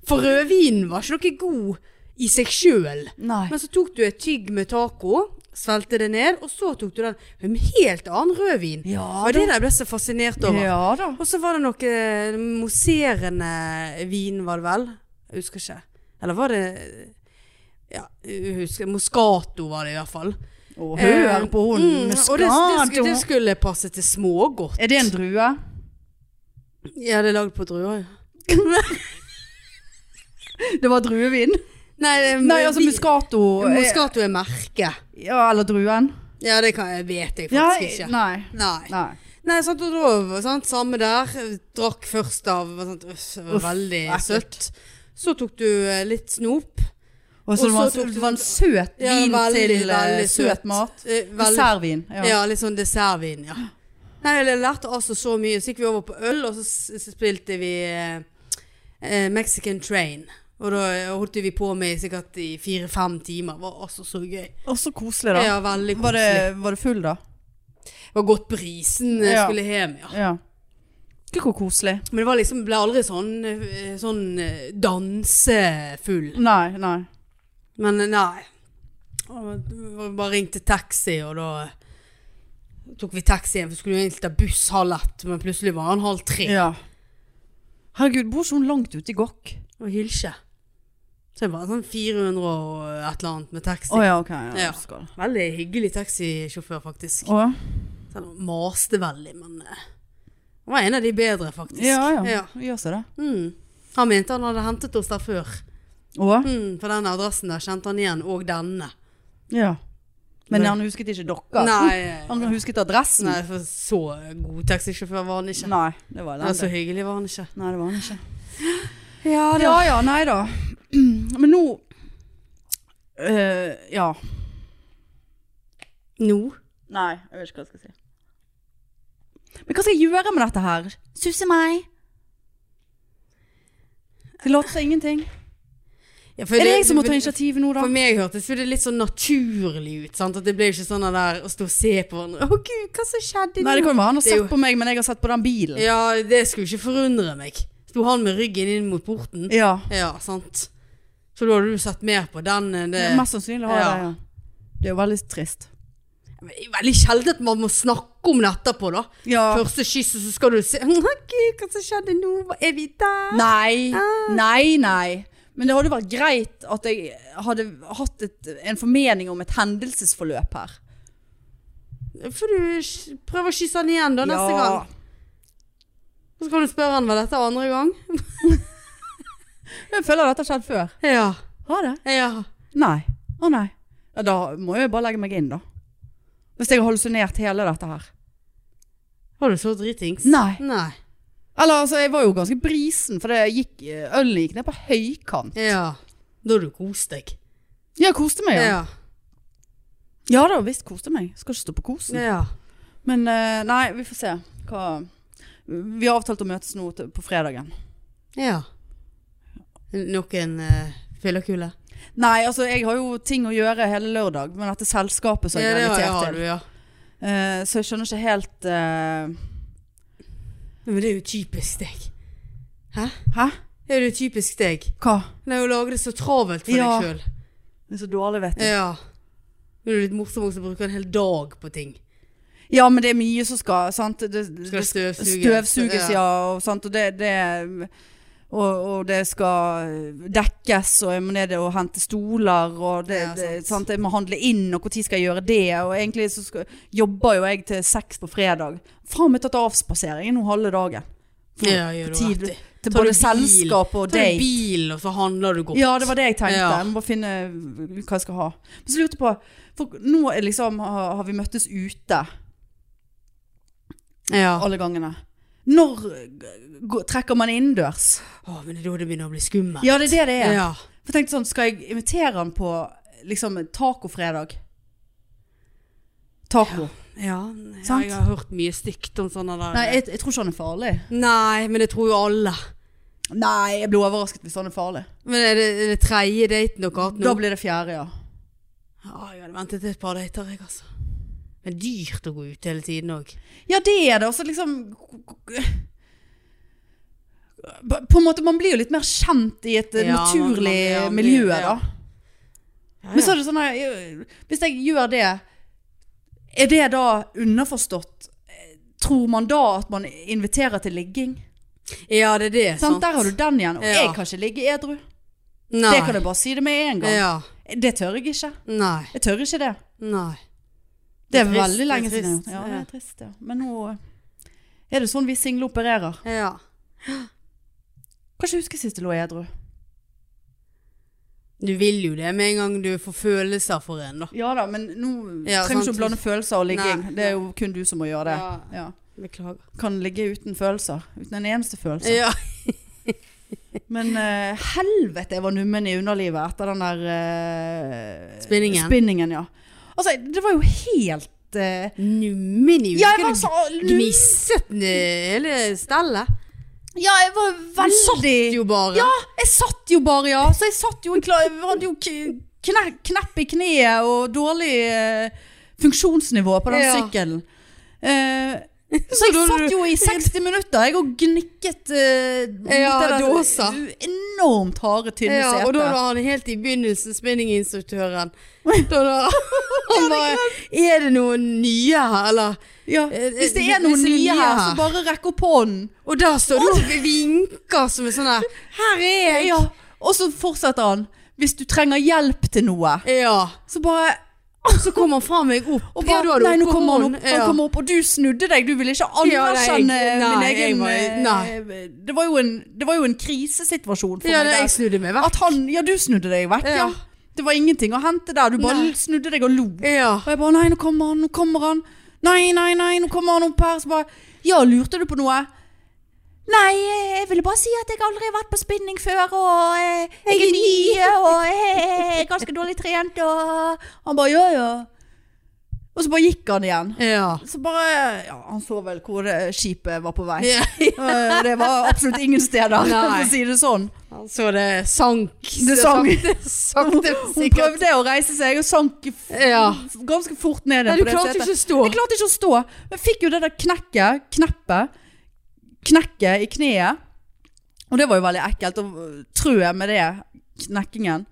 A: For rødvinen var ikke noe god i seg sjøl.
B: Nei.
A: Men så tok du et tygg med taco, svelte det ned, og så tok du den en helt annen rødvin.
B: Ja
A: Og det der ble jeg så fascinert over.
B: Ja da.
A: Og så var det noe moserende vin, var det vel? Jeg husker ikke. Eller var det Ja, jeg husker Moscato var det i hvert fall.
B: Og hør
A: Eh,
B: på hun
A: mm,
B: med
A: Og det, det, skulle,
B: skade.
A: det skulle passe til smågodt.
B: Er det en drue?
A: Ja, det er lagd på druer. ja.
B: Det var druevin.
A: Nei, eh, det er-
B: Nei, altså Muscato.
A: Moscato er merket.
B: Ja, eller druen.
A: Ja, det kan, jeg vet jeg
B: Ja,
A: faktisk ikke.
B: nei.
A: Nei.
B: nei.
A: Nei, sant, og da, sant, samme der. Drakk først av var sant, uff, det var
B: Uff,
A: veldig
B: ekkelt.
A: søtt. Så tok du eh, litt snop.
B: Og så
A: Og
B: det var,
A: så tok du-
B: det var en søt
A: Ja,
B: vin
A: veldig,
B: til eh,
A: veldig søt.
B: søt mat.
A: eh, Veldig,
B: Dessertvin.
A: ja.
B: Ja.
A: litt sånn dessertvin, ja. Nei, jeg lærte altså så mye. Så gikk vi over på øl, og så s- så spilte vi eh, eh, Mexican Train. Og da eh, holdt vi på med sikkert i fire-fem timer. Det var altså så gøy.
B: Og så koselig, da.
A: Ja, veldig
B: var,
A: koselig.
B: det, var det full, da?
A: Det var godt brisen eh,
B: Ja.
A: skulle hjem, ja.
B: Ja. Ikke hvor koselig.
A: Men det var liksom, ble aldri sånn, eh, sånn eh, dansefull.
B: Nei, nei.
A: Men eh, nei. Og det var Bare ringte taxi, og da tok vi taxien. Vi skulle jo egentlig ta buss halv ett, men plutselig var han halv tre.
B: Ja. Herregud, bor ikke hun langt ute i Gokk?
A: Og Hylkje. Så det var sånn 400 og et eller annet med taxi.
B: Å ja, ok. Ja,
A: Ja.
B: Skal.
A: Veldig hyggelig taxisjåfør, faktisk.
B: Å, ja.
A: Så Han maste veldig, men eh, han var en av de bedre, faktisk.
B: ja, ja. Gjør seg det.
A: Mm. Han mente han hadde hentet oss der før.
B: Å
A: Mm, for den adressen der kjente han igjen, og denne.
B: ja. Men han husket ikke dere?
A: Nei,
B: Han husket adressen?
A: nei, for så god taxisjåfør var han ikke.
B: Nei, det var
A: Ja, så
B: elendig.
A: hyggelig var han ikke.
B: Nei, det var han ikke.
A: Ja,
B: Ja ja, nei da. Men nå eh, Ja.
A: Nå?
B: Nei, jeg vet ikke hva jeg skal si. Men hva skal jeg gjøre med dette her? Susse meg? Skal jeg late som ingenting?
A: Ja, for
B: Er det jeg som må ta
A: for-
B: initiativ nå, da?
A: For meg hørtes jo det litt sånn naturlig ut. sant? At det ble ikke sånn der å stå og se på hverandre. Å gud, hva som skjedde
B: Nei, det kan jo være han har
A: Det er
B: sett
A: jo-
B: på meg, men jeg har sett på den bilen.
A: Ja, det skulle ikke forundre meg. Sto han med ryggen inn mot porten?
B: Ja.
A: Ja, sant. Så da hadde du sett mer på den enn det.
B: Ja, Mest sannsynlig har jeg
A: Eh, Ja.
B: det. Ja. Det er jo veldig trist.
A: Men det er Veldig sjelden at man må snakke om det etterpå, da.
B: Ja.
A: Første kysset, så skal du se «Å, Gud, hva som skjedde nå? Hva- Er vi der?
B: Nei, nei, nei. Men det hadde vært greit at jeg hadde hatt et, en formening om et hendelsesforløp her.
A: Får du sk- prøve å kysse han igjen da, neste
B: Ja.
A: gang. Og så kan du spørre han var dette andre gang.
B: Jeg føler dette har skjedd før.
A: Ja.
B: Har det?
A: Ja.
B: Nei. Å nei. Ja, da må jeg bare legge meg inn, da. Hvis jeg har hallusinert hele dette her.
A: Var du så dritings?
B: Nei.
A: Nei.
B: Eller altså, jeg var jo ganske brisen, for det gikk, eh, ølen gikk ned på høykant.
A: Ja. Da har du kost deg.
B: Ja, koste meg, ja.
A: Ja.
B: Ja da, visst koste meg. Skal ikke stå på kosen.
A: ja.
B: Men eh, nei, vi får se hva Vi har avtalt å møtes nå til- på fredagen.
A: Ja. Noen uh, fyllerkule?
B: Nei, altså jeg har jo ting å gjøre hele lørdag med dette selskapet som jeg er
A: det har-
B: invitert
A: har
B: til.
A: du, ja.
B: Eh, så jeg skjønner ikke helt eh,
A: Men det er jo typisk deg.
B: Hæ?
A: Det er jo typisk deg.
B: Hva?
A: Det er jo å lage det så travelt for
B: Ja.
A: deg sjøl.
B: Det er så dårlig, vet du.
A: Ja. Men det er litt morsomt også å bruke en hel dag på ting.
B: Ja, men det er mye som skal sant? Det, det
A: Skal støvsuges.
B: støvsuges, ja. Og, sant? og, det, det, og, og det skal dekkes, og jeg må ned og hente stoler, og det,
A: Ja,
B: det,
A: sant.
B: sant? jeg må handle inn, og når skal jeg gjøre det? Og egentlig så skal, jobber jo jeg til seks på fredag. Faen meg tatt avspaseringen nå halve dagen. For-
A: Ja, gjør du
B: tid
A: rett i.
B: Til
A: Tar du
B: både
A: bil?
B: selskap og
A: Ta deg
B: date.
A: bil, og så handler du godt.
B: Ja, det var det jeg tenkte.
A: Ja.
B: Jeg må bare finne hva jeg skal ha. Men så lurte jeg på For nå er liksom, har har vi møttes ute
A: Ja.
B: alle gangene. Når gå- trekker man innendørs?
A: Å, men det er da det begynner å bli skummelt.
B: Ja, det er det det er.
A: Ja.
B: For jeg tenkte sånn, Skal jeg invitere han på liksom en tacofredag? Taco.
A: Ja,
B: Sant?
A: jeg har hørt mye stygt om sånne der.
B: Nei, jeg, jeg tror ikke han er farlig.
A: Nei, men det tror jo alle.
B: Nei, jeg blir overrasket hvis han er farlig.
A: Men er det, er det tredje daten dere har hatt nå?
B: Da blir det fjerde, ja.
A: Ja, jeg hadde ventet et par dater, jeg, altså. Men dyrt å gå ut hele tiden òg.
B: Ja, det er det. Og så liksom På en måte, man blir jo litt mer kjent i et eh,
A: Ja, man-
B: naturlig
A: man- ja,
B: miljø,
A: ja.
B: da. Men så er det sånn her eh, Hvis jeg gjør det, er det da underforstått? Eh, Tror man da at man inviterer til ligging?
A: Ja, det er det.
B: Sant? Der har du den igjen. Og
A: Ja.
B: jeg kan ikke ligge edru.
A: Nei.
B: Det kan jeg bare si det med en gang.
A: Ja.
B: Det tør jeg ikke.
A: Nei.
B: Jeg tør ikke det.
A: Nei.
B: Det er
A: trist,
B: veldig lenge
A: det er
B: siden. jeg har
A: trist,
B: gjort det. Ja, det
A: ja.
B: er trist, ja. Men nå eh, er det sånn vi single opererer.
A: Ja.
B: Kan ikke huske sist jeg lå edru.
A: Du vil jo det med en gang du får følelser for en, da.
B: Ja da, men nå
A: Ja,
B: trenger du
A: sant.
B: ikke å blande følelser og ligging.
A: Nei.
B: Det er jo kun du som må gjøre det. Ja.
A: Beklager.
B: Kan ligge uten følelser. Uten en eneste følelse.
A: Ja.
B: Men eh, helvete, jeg var nummen i underlivet etter den der eh,
A: Spinningen.
B: spinningen. Ja. Altså, det var jo helt eh,
A: Nummen i
B: Ja, jeg var
A: uken.
B: så lun.
A: Gnisset ned hele stellet.
B: Ja, jeg var
A: Du satt
B: veldig
A: jo bare.
B: Ja, jeg satt jo bare, ja. Så jeg satt jo i kla- Jeg hadde jo k- kne, knepp i kneet og dårlig eh, funksjonsnivå på den
A: Ja.
B: sykkelen. Eh, så jeg
A: da
B: satt
A: du-
B: jo i 60 minutter, jeg, og gnikket uh,
A: Ja, dåsa.
B: enormt harde, tynne
A: Ja, og da
B: seter.
A: var han helt i begynnelsen, spinninginstruktøren. Da, da, han bare Er det noen nye her, eller?
B: Ja,
A: Eh,
B: hvis det
A: eh,
B: er noen
A: hvis det er
B: nye
A: nye
B: her,
A: her.
B: så bare rekk opp hånden.
A: Og der står du og vinker som en sånn her Her er jeg!
B: Ja. Og så fortsetter han. Hvis du trenger hjelp til noe,
A: Ja.
B: så bare
A: Så kom han fra meg opp.
B: og bare,
A: ja, da hadde
B: Nei, nå
A: oppå
B: kommer han
A: hånden.
B: opp, han kommer opp, og du snudde deg. Du ville ikke
A: Ja, nei, jeg-
B: anerkjenne min
A: nei, jeg
B: egen
A: var-
B: eh,
A: nei.
B: det, var jo en, det var jo en krisesituasjon for
A: Ja, det,
B: meg.
A: jeg snudde meg
B: der.
A: vekk.
B: At han Ja, du snudde deg vekk, ja.
A: Ja.
B: Det var ingenting å hente der. Du bare
A: Nei.
B: snudde deg og lo.
A: Ja.
B: Og jeg bare Nei, nå kommer han, nå kommer han. Nei, nei, nei, nå kommer han opp her. Så bare Ja, lurte du på noe? Nei, eh, jeg ville bare si at jeg aldri har vært på spinning før, og eh, jeg er ny, og eh, jeg er ganske dårlig trent, og Han bare ja, ja. Og så bare gikk han igjen.
A: Ja.
B: Så bare Ja, han så vel hvor eh, skipet var på vei.
A: ja.
B: Eh, Det var absolutt ingen steder, for å
A: Nei.
B: si det sånn.
A: Så det sank.
B: Det sank.
A: Sakte, sakte men
B: Hun
A: sikkert.
B: prøvde å reise seg og sank f-
A: Ja.
B: ganske fort ned igjen
A: Nei, du
B: på det
A: klarte
B: setet.
A: ikke å stå.
B: Jeg klarte ikke å stå. Men fikk jo det der knekket, kneppet, knekket i kneet. Og det var jo veldig ekkelt å øh, trø med det, knekkingen.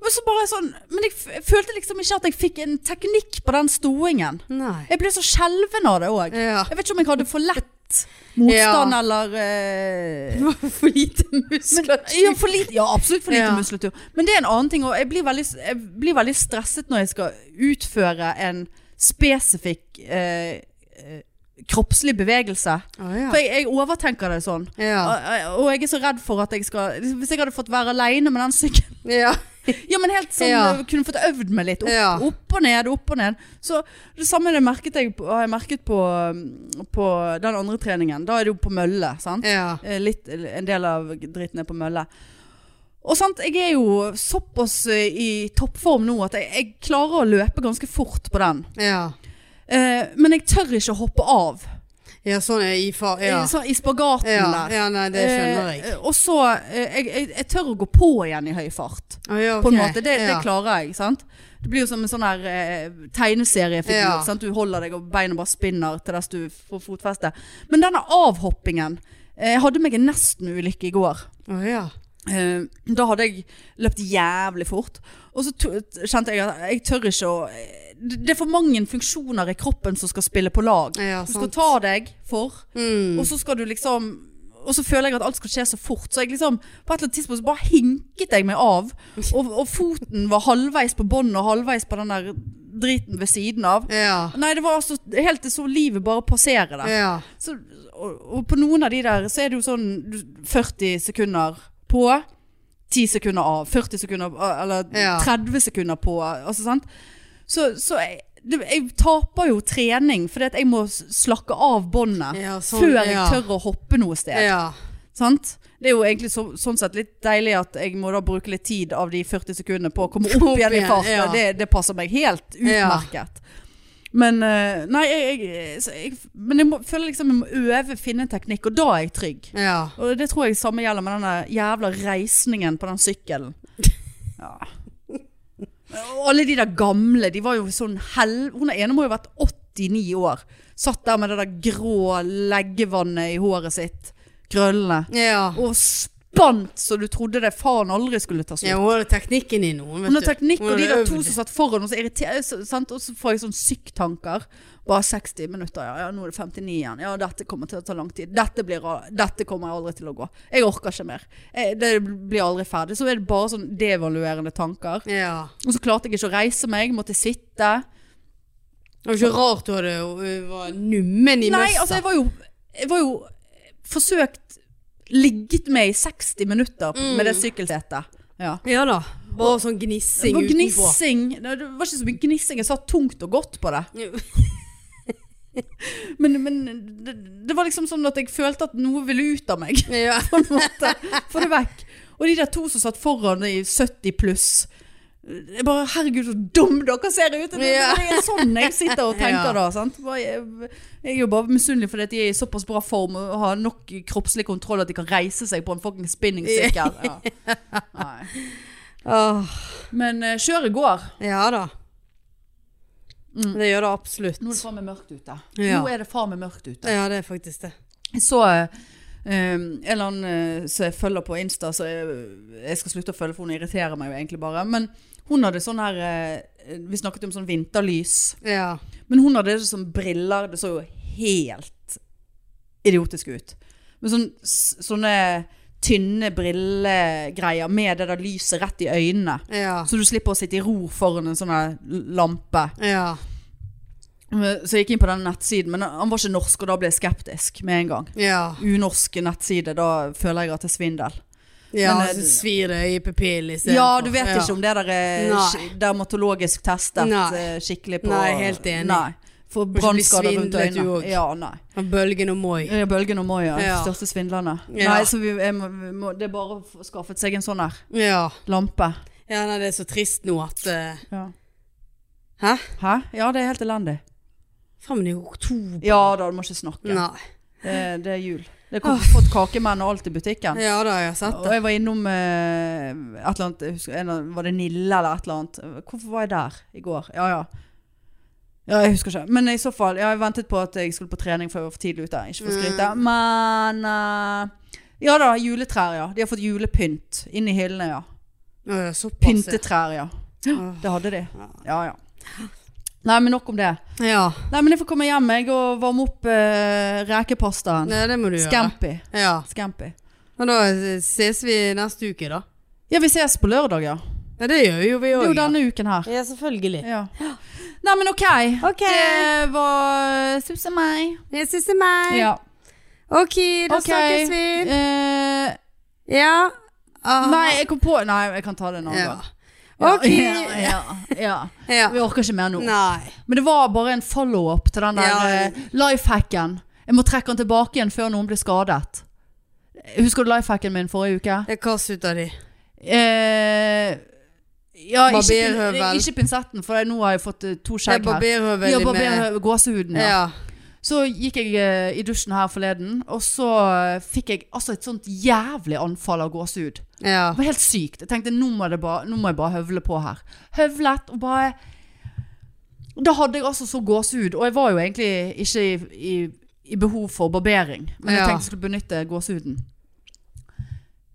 B: Men så bare sånn, men jeg f- jeg følte liksom ikke at jeg fikk en teknikk på den stoingen.
A: Nei.
B: Jeg ble så skjelven av det også.
A: Ja.
B: Jeg vet ikke om jeg hadde for lett motstand
A: Ja.
B: eller... øh,
A: Det var for lite muskulatur.
B: ja, for lite, ja, absolutt for lite
A: Ja.
B: muskulatur. Men det er en annen ting òg. Jeg, blir veldig- jeg blir veldig stresset når jeg skal utføre en spesifikk eh, eh, kroppslig bevegelse.
A: Å, ja.
B: For jeg, jeg overtenker det sånn.
A: Ja.
B: Og, og jeg er så redd for at jeg skal Hvis jeg hadde fått være aleine med den sykkelen
A: Ja.
B: Ja, men helt sånn
A: Ja.
B: eh, Kunne fått øvd meg litt. Opp,
A: Ja.
B: opp og ned, opp og ned. Så det samme det merket jeg, på- har jeg merket på, mm, på den andre treningen. Da er det jo på mølle, sant.
A: ja.
B: Eh, litt, en del av driten er på mølle. Og sant, jeg er jo såpass eh, i toppform nå at jeg, jeg klarer å løpe ganske fort på den.
A: Ja.
B: Eh, men jeg tør ikke å hoppe av
A: Ja, sånn er i far... Ja.
B: I- sånn i spagaten
A: Ja.
B: der.
A: ja, nei, det skjønner jeg.
B: Eh, og så eh, jeg, jeg, jeg tør å gå på igjen i høy fart.
A: Å, ja,
B: Eh, På en
A: ok.
B: måte. Det, det
A: Ja.
B: klarer jeg. sant? Det blir jo som en sånn her eh, tegneseriefigur.
A: Ja.
B: sant? Du holder deg, og beina bare spinner til dess du får fotfeste. Men denne avhoppingen eh, Jeg hadde meg en nesten-ulykke i går.
A: Å, ja.
B: Eh, da hadde jeg løpt jævlig fort. Og så to- kjente jeg at jeg tør ikke å eh, Det det er for mange funksjoner i kroppen som skal spille på lag.
A: Ja,
B: du skal
A: sant.
B: ta deg for,
A: Mm.
B: og så skal du liksom og så føler jeg at alt skal skje så fort, så jeg liksom, på et eller annet tidspunkt så bare hinket jeg meg av. Og, og foten var halvveis på båndet og halvveis på den der driten ved siden av.
A: Ja.
B: Nei, det var altså helt til så livet bare passerer der.
A: Ja.
B: Så, og, og på noen av de der så er det jo sånn du- 40 sekunder på, 10 sekunder av, 40 sekunder av, eller
A: Ja.
B: 30 sekunder på, altså sant? Så, så jeg, det, jeg taper jo trening, fordi at jeg må s- slakke av båndet
A: Ja, sånn,
B: før jeg
A: ja.
B: tør å hoppe noe sted,
A: Ja.
B: sant? Det er jo egentlig så, sånn sett litt deilig at jeg må da bruke litt tid av de 40 sekundene på å komme opp,
A: Opp
B: igjen i
A: igjen,
B: farten.
A: ja.
B: Det, det passer meg helt
A: Ja.
B: utmerket. Men eh, nei, jeg, jeg, så jeg, men jeg må, føler liksom jeg må øve, finne en teknikk, og da er jeg trygg.
A: Ja.
B: Og det tror jeg samme gjelder med denne jævla reisningen på den sykkelen. Ja. Og alle de der gamle, de var jo sånn hel... Hun ene må jo ha vært 89 år. Satt der med det der grå leggevannet i håret sitt. Krøllene.
A: Ja.
B: Og spant så du trodde det faen aldri skulle ta
A: Ja,
B: slutt.
A: hun hadde teknikken i noen, vet
B: Hun har teknikk,
A: Hun
B: og de
A: hadde
B: der to
A: øvd.
B: som satt foran oss, irriterer så- sant? Og så får jeg sånn sykktanker. Bare 60 minutter, ja, ja. Nå er det 59 igjen. Ja, dette kommer til å ta lang tid. Dette, blir, ra- dette kommer jeg aldri til å gå. Jeg orker ikke mer. Eh, Det blir aldri ferdig. Så er det bare sånn devaluerende tanker.
A: Ja.
B: Og så klarte jeg ikke å reise meg, måtte sitte.
A: Det var ikke rart du hadde, hun var nummen
B: Nei,
A: i møssa.
B: altså jeg var jo, jeg var jo forsøkt ligget med i 60 minutter
A: Mm.
B: på- med det sykkelsetet. Ja.
A: Ja da. Bare sånn
B: Det
A: gnissing
B: var
A: utenpå.
B: gnissing. Det det var ikke så mye gnissing. Jeg satt tungt og godt på det. Men, men det, det var liksom sånn at jeg følte at noe ville ut av meg.
A: Ja.
B: På en måte. Få det vekk. Og de der to som satt foran i 70 pluss. Jeg bare, herregud, så dum dere ser ut! Det,
A: Ja.
B: det er sånn jeg sitter og tenker
A: Ja.
B: da. Sant? Bare, Jeg, jeg er jo bare misunnelig fordi at de er i såpass bra form og har nok kroppslig kontroll at de kan reise seg på en fucking spinningsykkel. Ja. Nei.
A: Åh,
B: Men eh, kjøret går.
A: ja da. Det gjør det absolutt.
B: Mm. Nå er det faen meg mørkt ute.
A: Ja.
B: Nå er det faen meg mørkt ute.
A: Ja, det er faktisk det.
B: Jeg så eh, en eller annen eh, som jeg følger på Insta, så jeg, jeg skal slutte å følge, for hun irriterer meg jo egentlig bare. Men hun hadde sånn her eh, Vi snakket om sånn vinterlys.
A: Ja.
B: Men hun hadde sånn briller. Det så jo helt idiotisk ut. Med sånn, s- sånne tynne brillegreier med det der lyset rett i øynene.
A: Ja.
B: Så du slipper å sitte i ro foran en sånn her lampe.
A: Ja.
B: Så jeg gikk inn på den nettsiden, men han var ikke norsk, og da ble jeg skeptisk med en gang.
A: Ja.
B: Unorsk nettside, da føler jeg at det er svindel.
A: ja
B: Men, eh,
A: så svir det i pupillen istedenfor.
B: Ja, du vet ikke om det der er
A: Nei.
B: sk- dermatologisk testet
A: Nei.
B: eh, skikkelig på
A: Nei, helt enig.
B: Nei. For
A: bli
B: brannskader rundt
A: svindlet, du
B: øynene.
A: også.
B: Ja, nei.
A: Ja. Bølgen og moi.
B: Ja, Bølgen og Moya,
A: Ja.
B: største svindlerne.
A: Ja.
B: Nei, så vi, jeg må, vi må, det er bare å få skaffet seg en sånn her
A: Ja.
B: lampe.
A: ja. Nei, det er så trist nå at eh,
B: Ja.
A: Hæ?
B: Hæ? Ja, det er helt elendig.
A: Faen, men det er jo oktober.
B: Ja da, du må ikke snakke.
A: Nei.
B: Det, det er jul. Det har fått kakemenn og alt i butikken.
A: Ja da, jeg har sett
B: Og
A: det.
B: jeg var innom eh, et eller annet, jeg husker, en, av- var det Nille eller et eller annet? Hvorfor var jeg der i går? Ja, ja. Ja, jeg husker ikke. Men i så fall, ja, jeg ventet på at jeg skulle på trening for jeg var for tidlig ute. Ikke for å skryte.
A: Mm.
B: Men eh, ja da, juletrær, ja. De har fått julepynt inn i hyllene, ja.
A: Å, ja, såpass. ja.
B: Pyntetrær, ja.
A: Åh.
B: Det hadde de. Ja, ja. Nei, men nok om det.
A: Ja.
B: Nei, men jeg får komme hjem jeg, og varme opp eh, rekepastaen.
A: Nei, det må du gjøre.
B: Scampi.
A: Ja.
B: Scampi.
A: Men da eh, ses vi neste uke, da.
B: Ja, vi ses på lørdag, ja.
A: Ja, det gjør jo vi
B: Det
A: òg.
B: er jo denne uken her.
A: Ja, selvfølgelig.
B: Ja. Nei, men ok.
A: Ok.
B: Det var Suss og meg.
A: Jeg syns det er meg.
B: Ja.
A: Ok, da
B: Ok.
A: snakkes vi.
B: Eh,
A: Ja. Ah.
B: nei, jeg kom på Nei, jeg kan ta det en annen
A: Ja.
B: gang. Ja,
A: Ok.
B: Ja, ja, ja.
A: Ja.
B: Vi orker ikke mer nå.
A: Nei.
B: Men det var bare en follow-up til den der
A: Ja.
B: eh, lifehacken. Jeg må trekke den tilbake igjen før noen blir skadet. Husker du lifehacken min forrige uke?
A: Jeg kastet ut av de.
B: Eh, ja, ikke,
A: Barberhøvel.
B: ikke pinsetten, for nå har jeg fått eh, to
A: Jeg
B: skjegg her.
A: barberhøvel
B: Ja,
A: med-
B: barberhøvel. Gåsehuden, ja.
A: Ja.
B: Så gikk jeg eh, i dusjen her forleden, og så eh, fikk jeg altså et sånt jævlig anfall av gåsehud.
A: Ja.
B: Det var helt sykt. Jeg tenkte nå må, det bare, nå må jeg bare høvle på her. Høvlet og bare Da hadde jeg altså så gåsehud, og jeg var jo egentlig ikke i, i, i behov for barbering, men jeg
A: Ja.
B: tenkte jeg skulle benytte gåsehuden.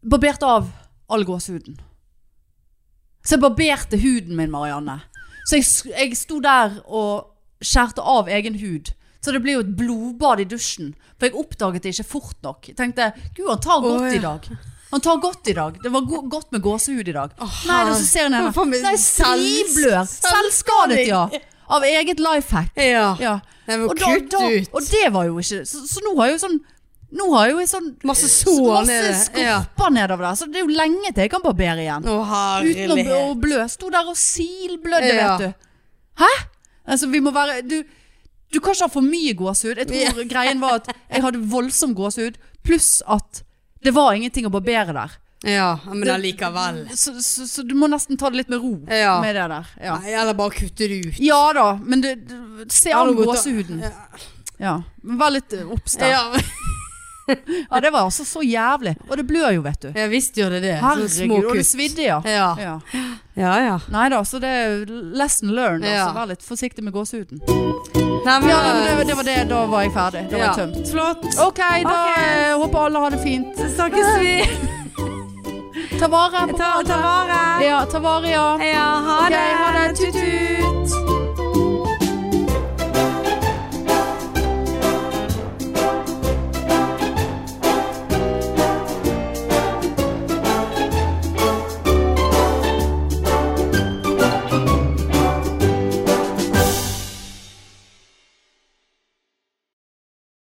B: Barbert av all gåsehuden. Så jeg barberte huden min, Marianne. Så jeg, s- jeg sto der og skjærte av egen hud. Så det ble jo et blodbad i dusjen. For jeg oppdaget det ikke fort nok. Jeg tenkte, gud, han tar godt
A: Å, ja.
B: i dag. Han tar godt i dag. Det var go godt med gåsehud i dag.
A: Åh,
B: Nei, det er så ser jeg
A: Hva faen
B: ned.
A: med
B: Nei,
A: selv-
B: sviblør. Selvskadet, ja. Av eget lifehack.
A: ja.
B: Ja.
A: Nei, men
B: Og, da,
A: kutt
B: da,
A: ut.
B: og det var jo ikke Så, så nå har jeg jo sånn Nå har jeg jo en sånn
A: Masse sår
B: Masse
A: nede. Ja.
B: skorper nedover der. Så det er jo lenge til jeg kan barbere igjen.
A: Å,
B: Uten å, å
A: herlighet.
B: blø. Sto der og silblødde, vet
A: Ja.
B: du. Hæ? Altså, vi må være Du, du kan ikke ha for mye gåsehud. Jeg tror greien var at jeg hadde voldsom gåsehud, pluss at det var ingenting å barbere der.
A: Ja, men allikevel.
B: Så, så, så du må nesten ta det litt med ro
A: Ja.
B: med det der. Ja,
A: Nei, eller bare kutte det ut.
B: ja da, men det, det, se
A: Ja,
B: an
A: det går til-
B: gåsehuden.
A: Ja.
B: Ja. Men vær litt eh, obs der. Ja.
A: Ja,
B: det var altså så jævlig. Og det blør jo, vet du.
A: ja visst gjør det det. Så små
B: Herregud, og det
A: kutt.
B: svidde, ja.
A: Ja.
B: ja.
A: ja, ja.
B: Nei da, så det er lesson learned.
A: Ja.
B: Altså, vær litt forsiktig med gåsehuden.
A: Nei, men,
B: Ja, men det, det var det. Da var jeg ferdig. Da var jeg
A: Ja.
B: tømt.
A: Flott.
B: Ok, da
A: Ok.
B: eh, håper alle har det fint.
A: Så snakkes vi.
B: Ta vare på
A: Ta, ta vare.
B: Ja, ta vare, ja.
A: Ja, ha
B: Ok,
A: det.
B: ha det. Tut-tut.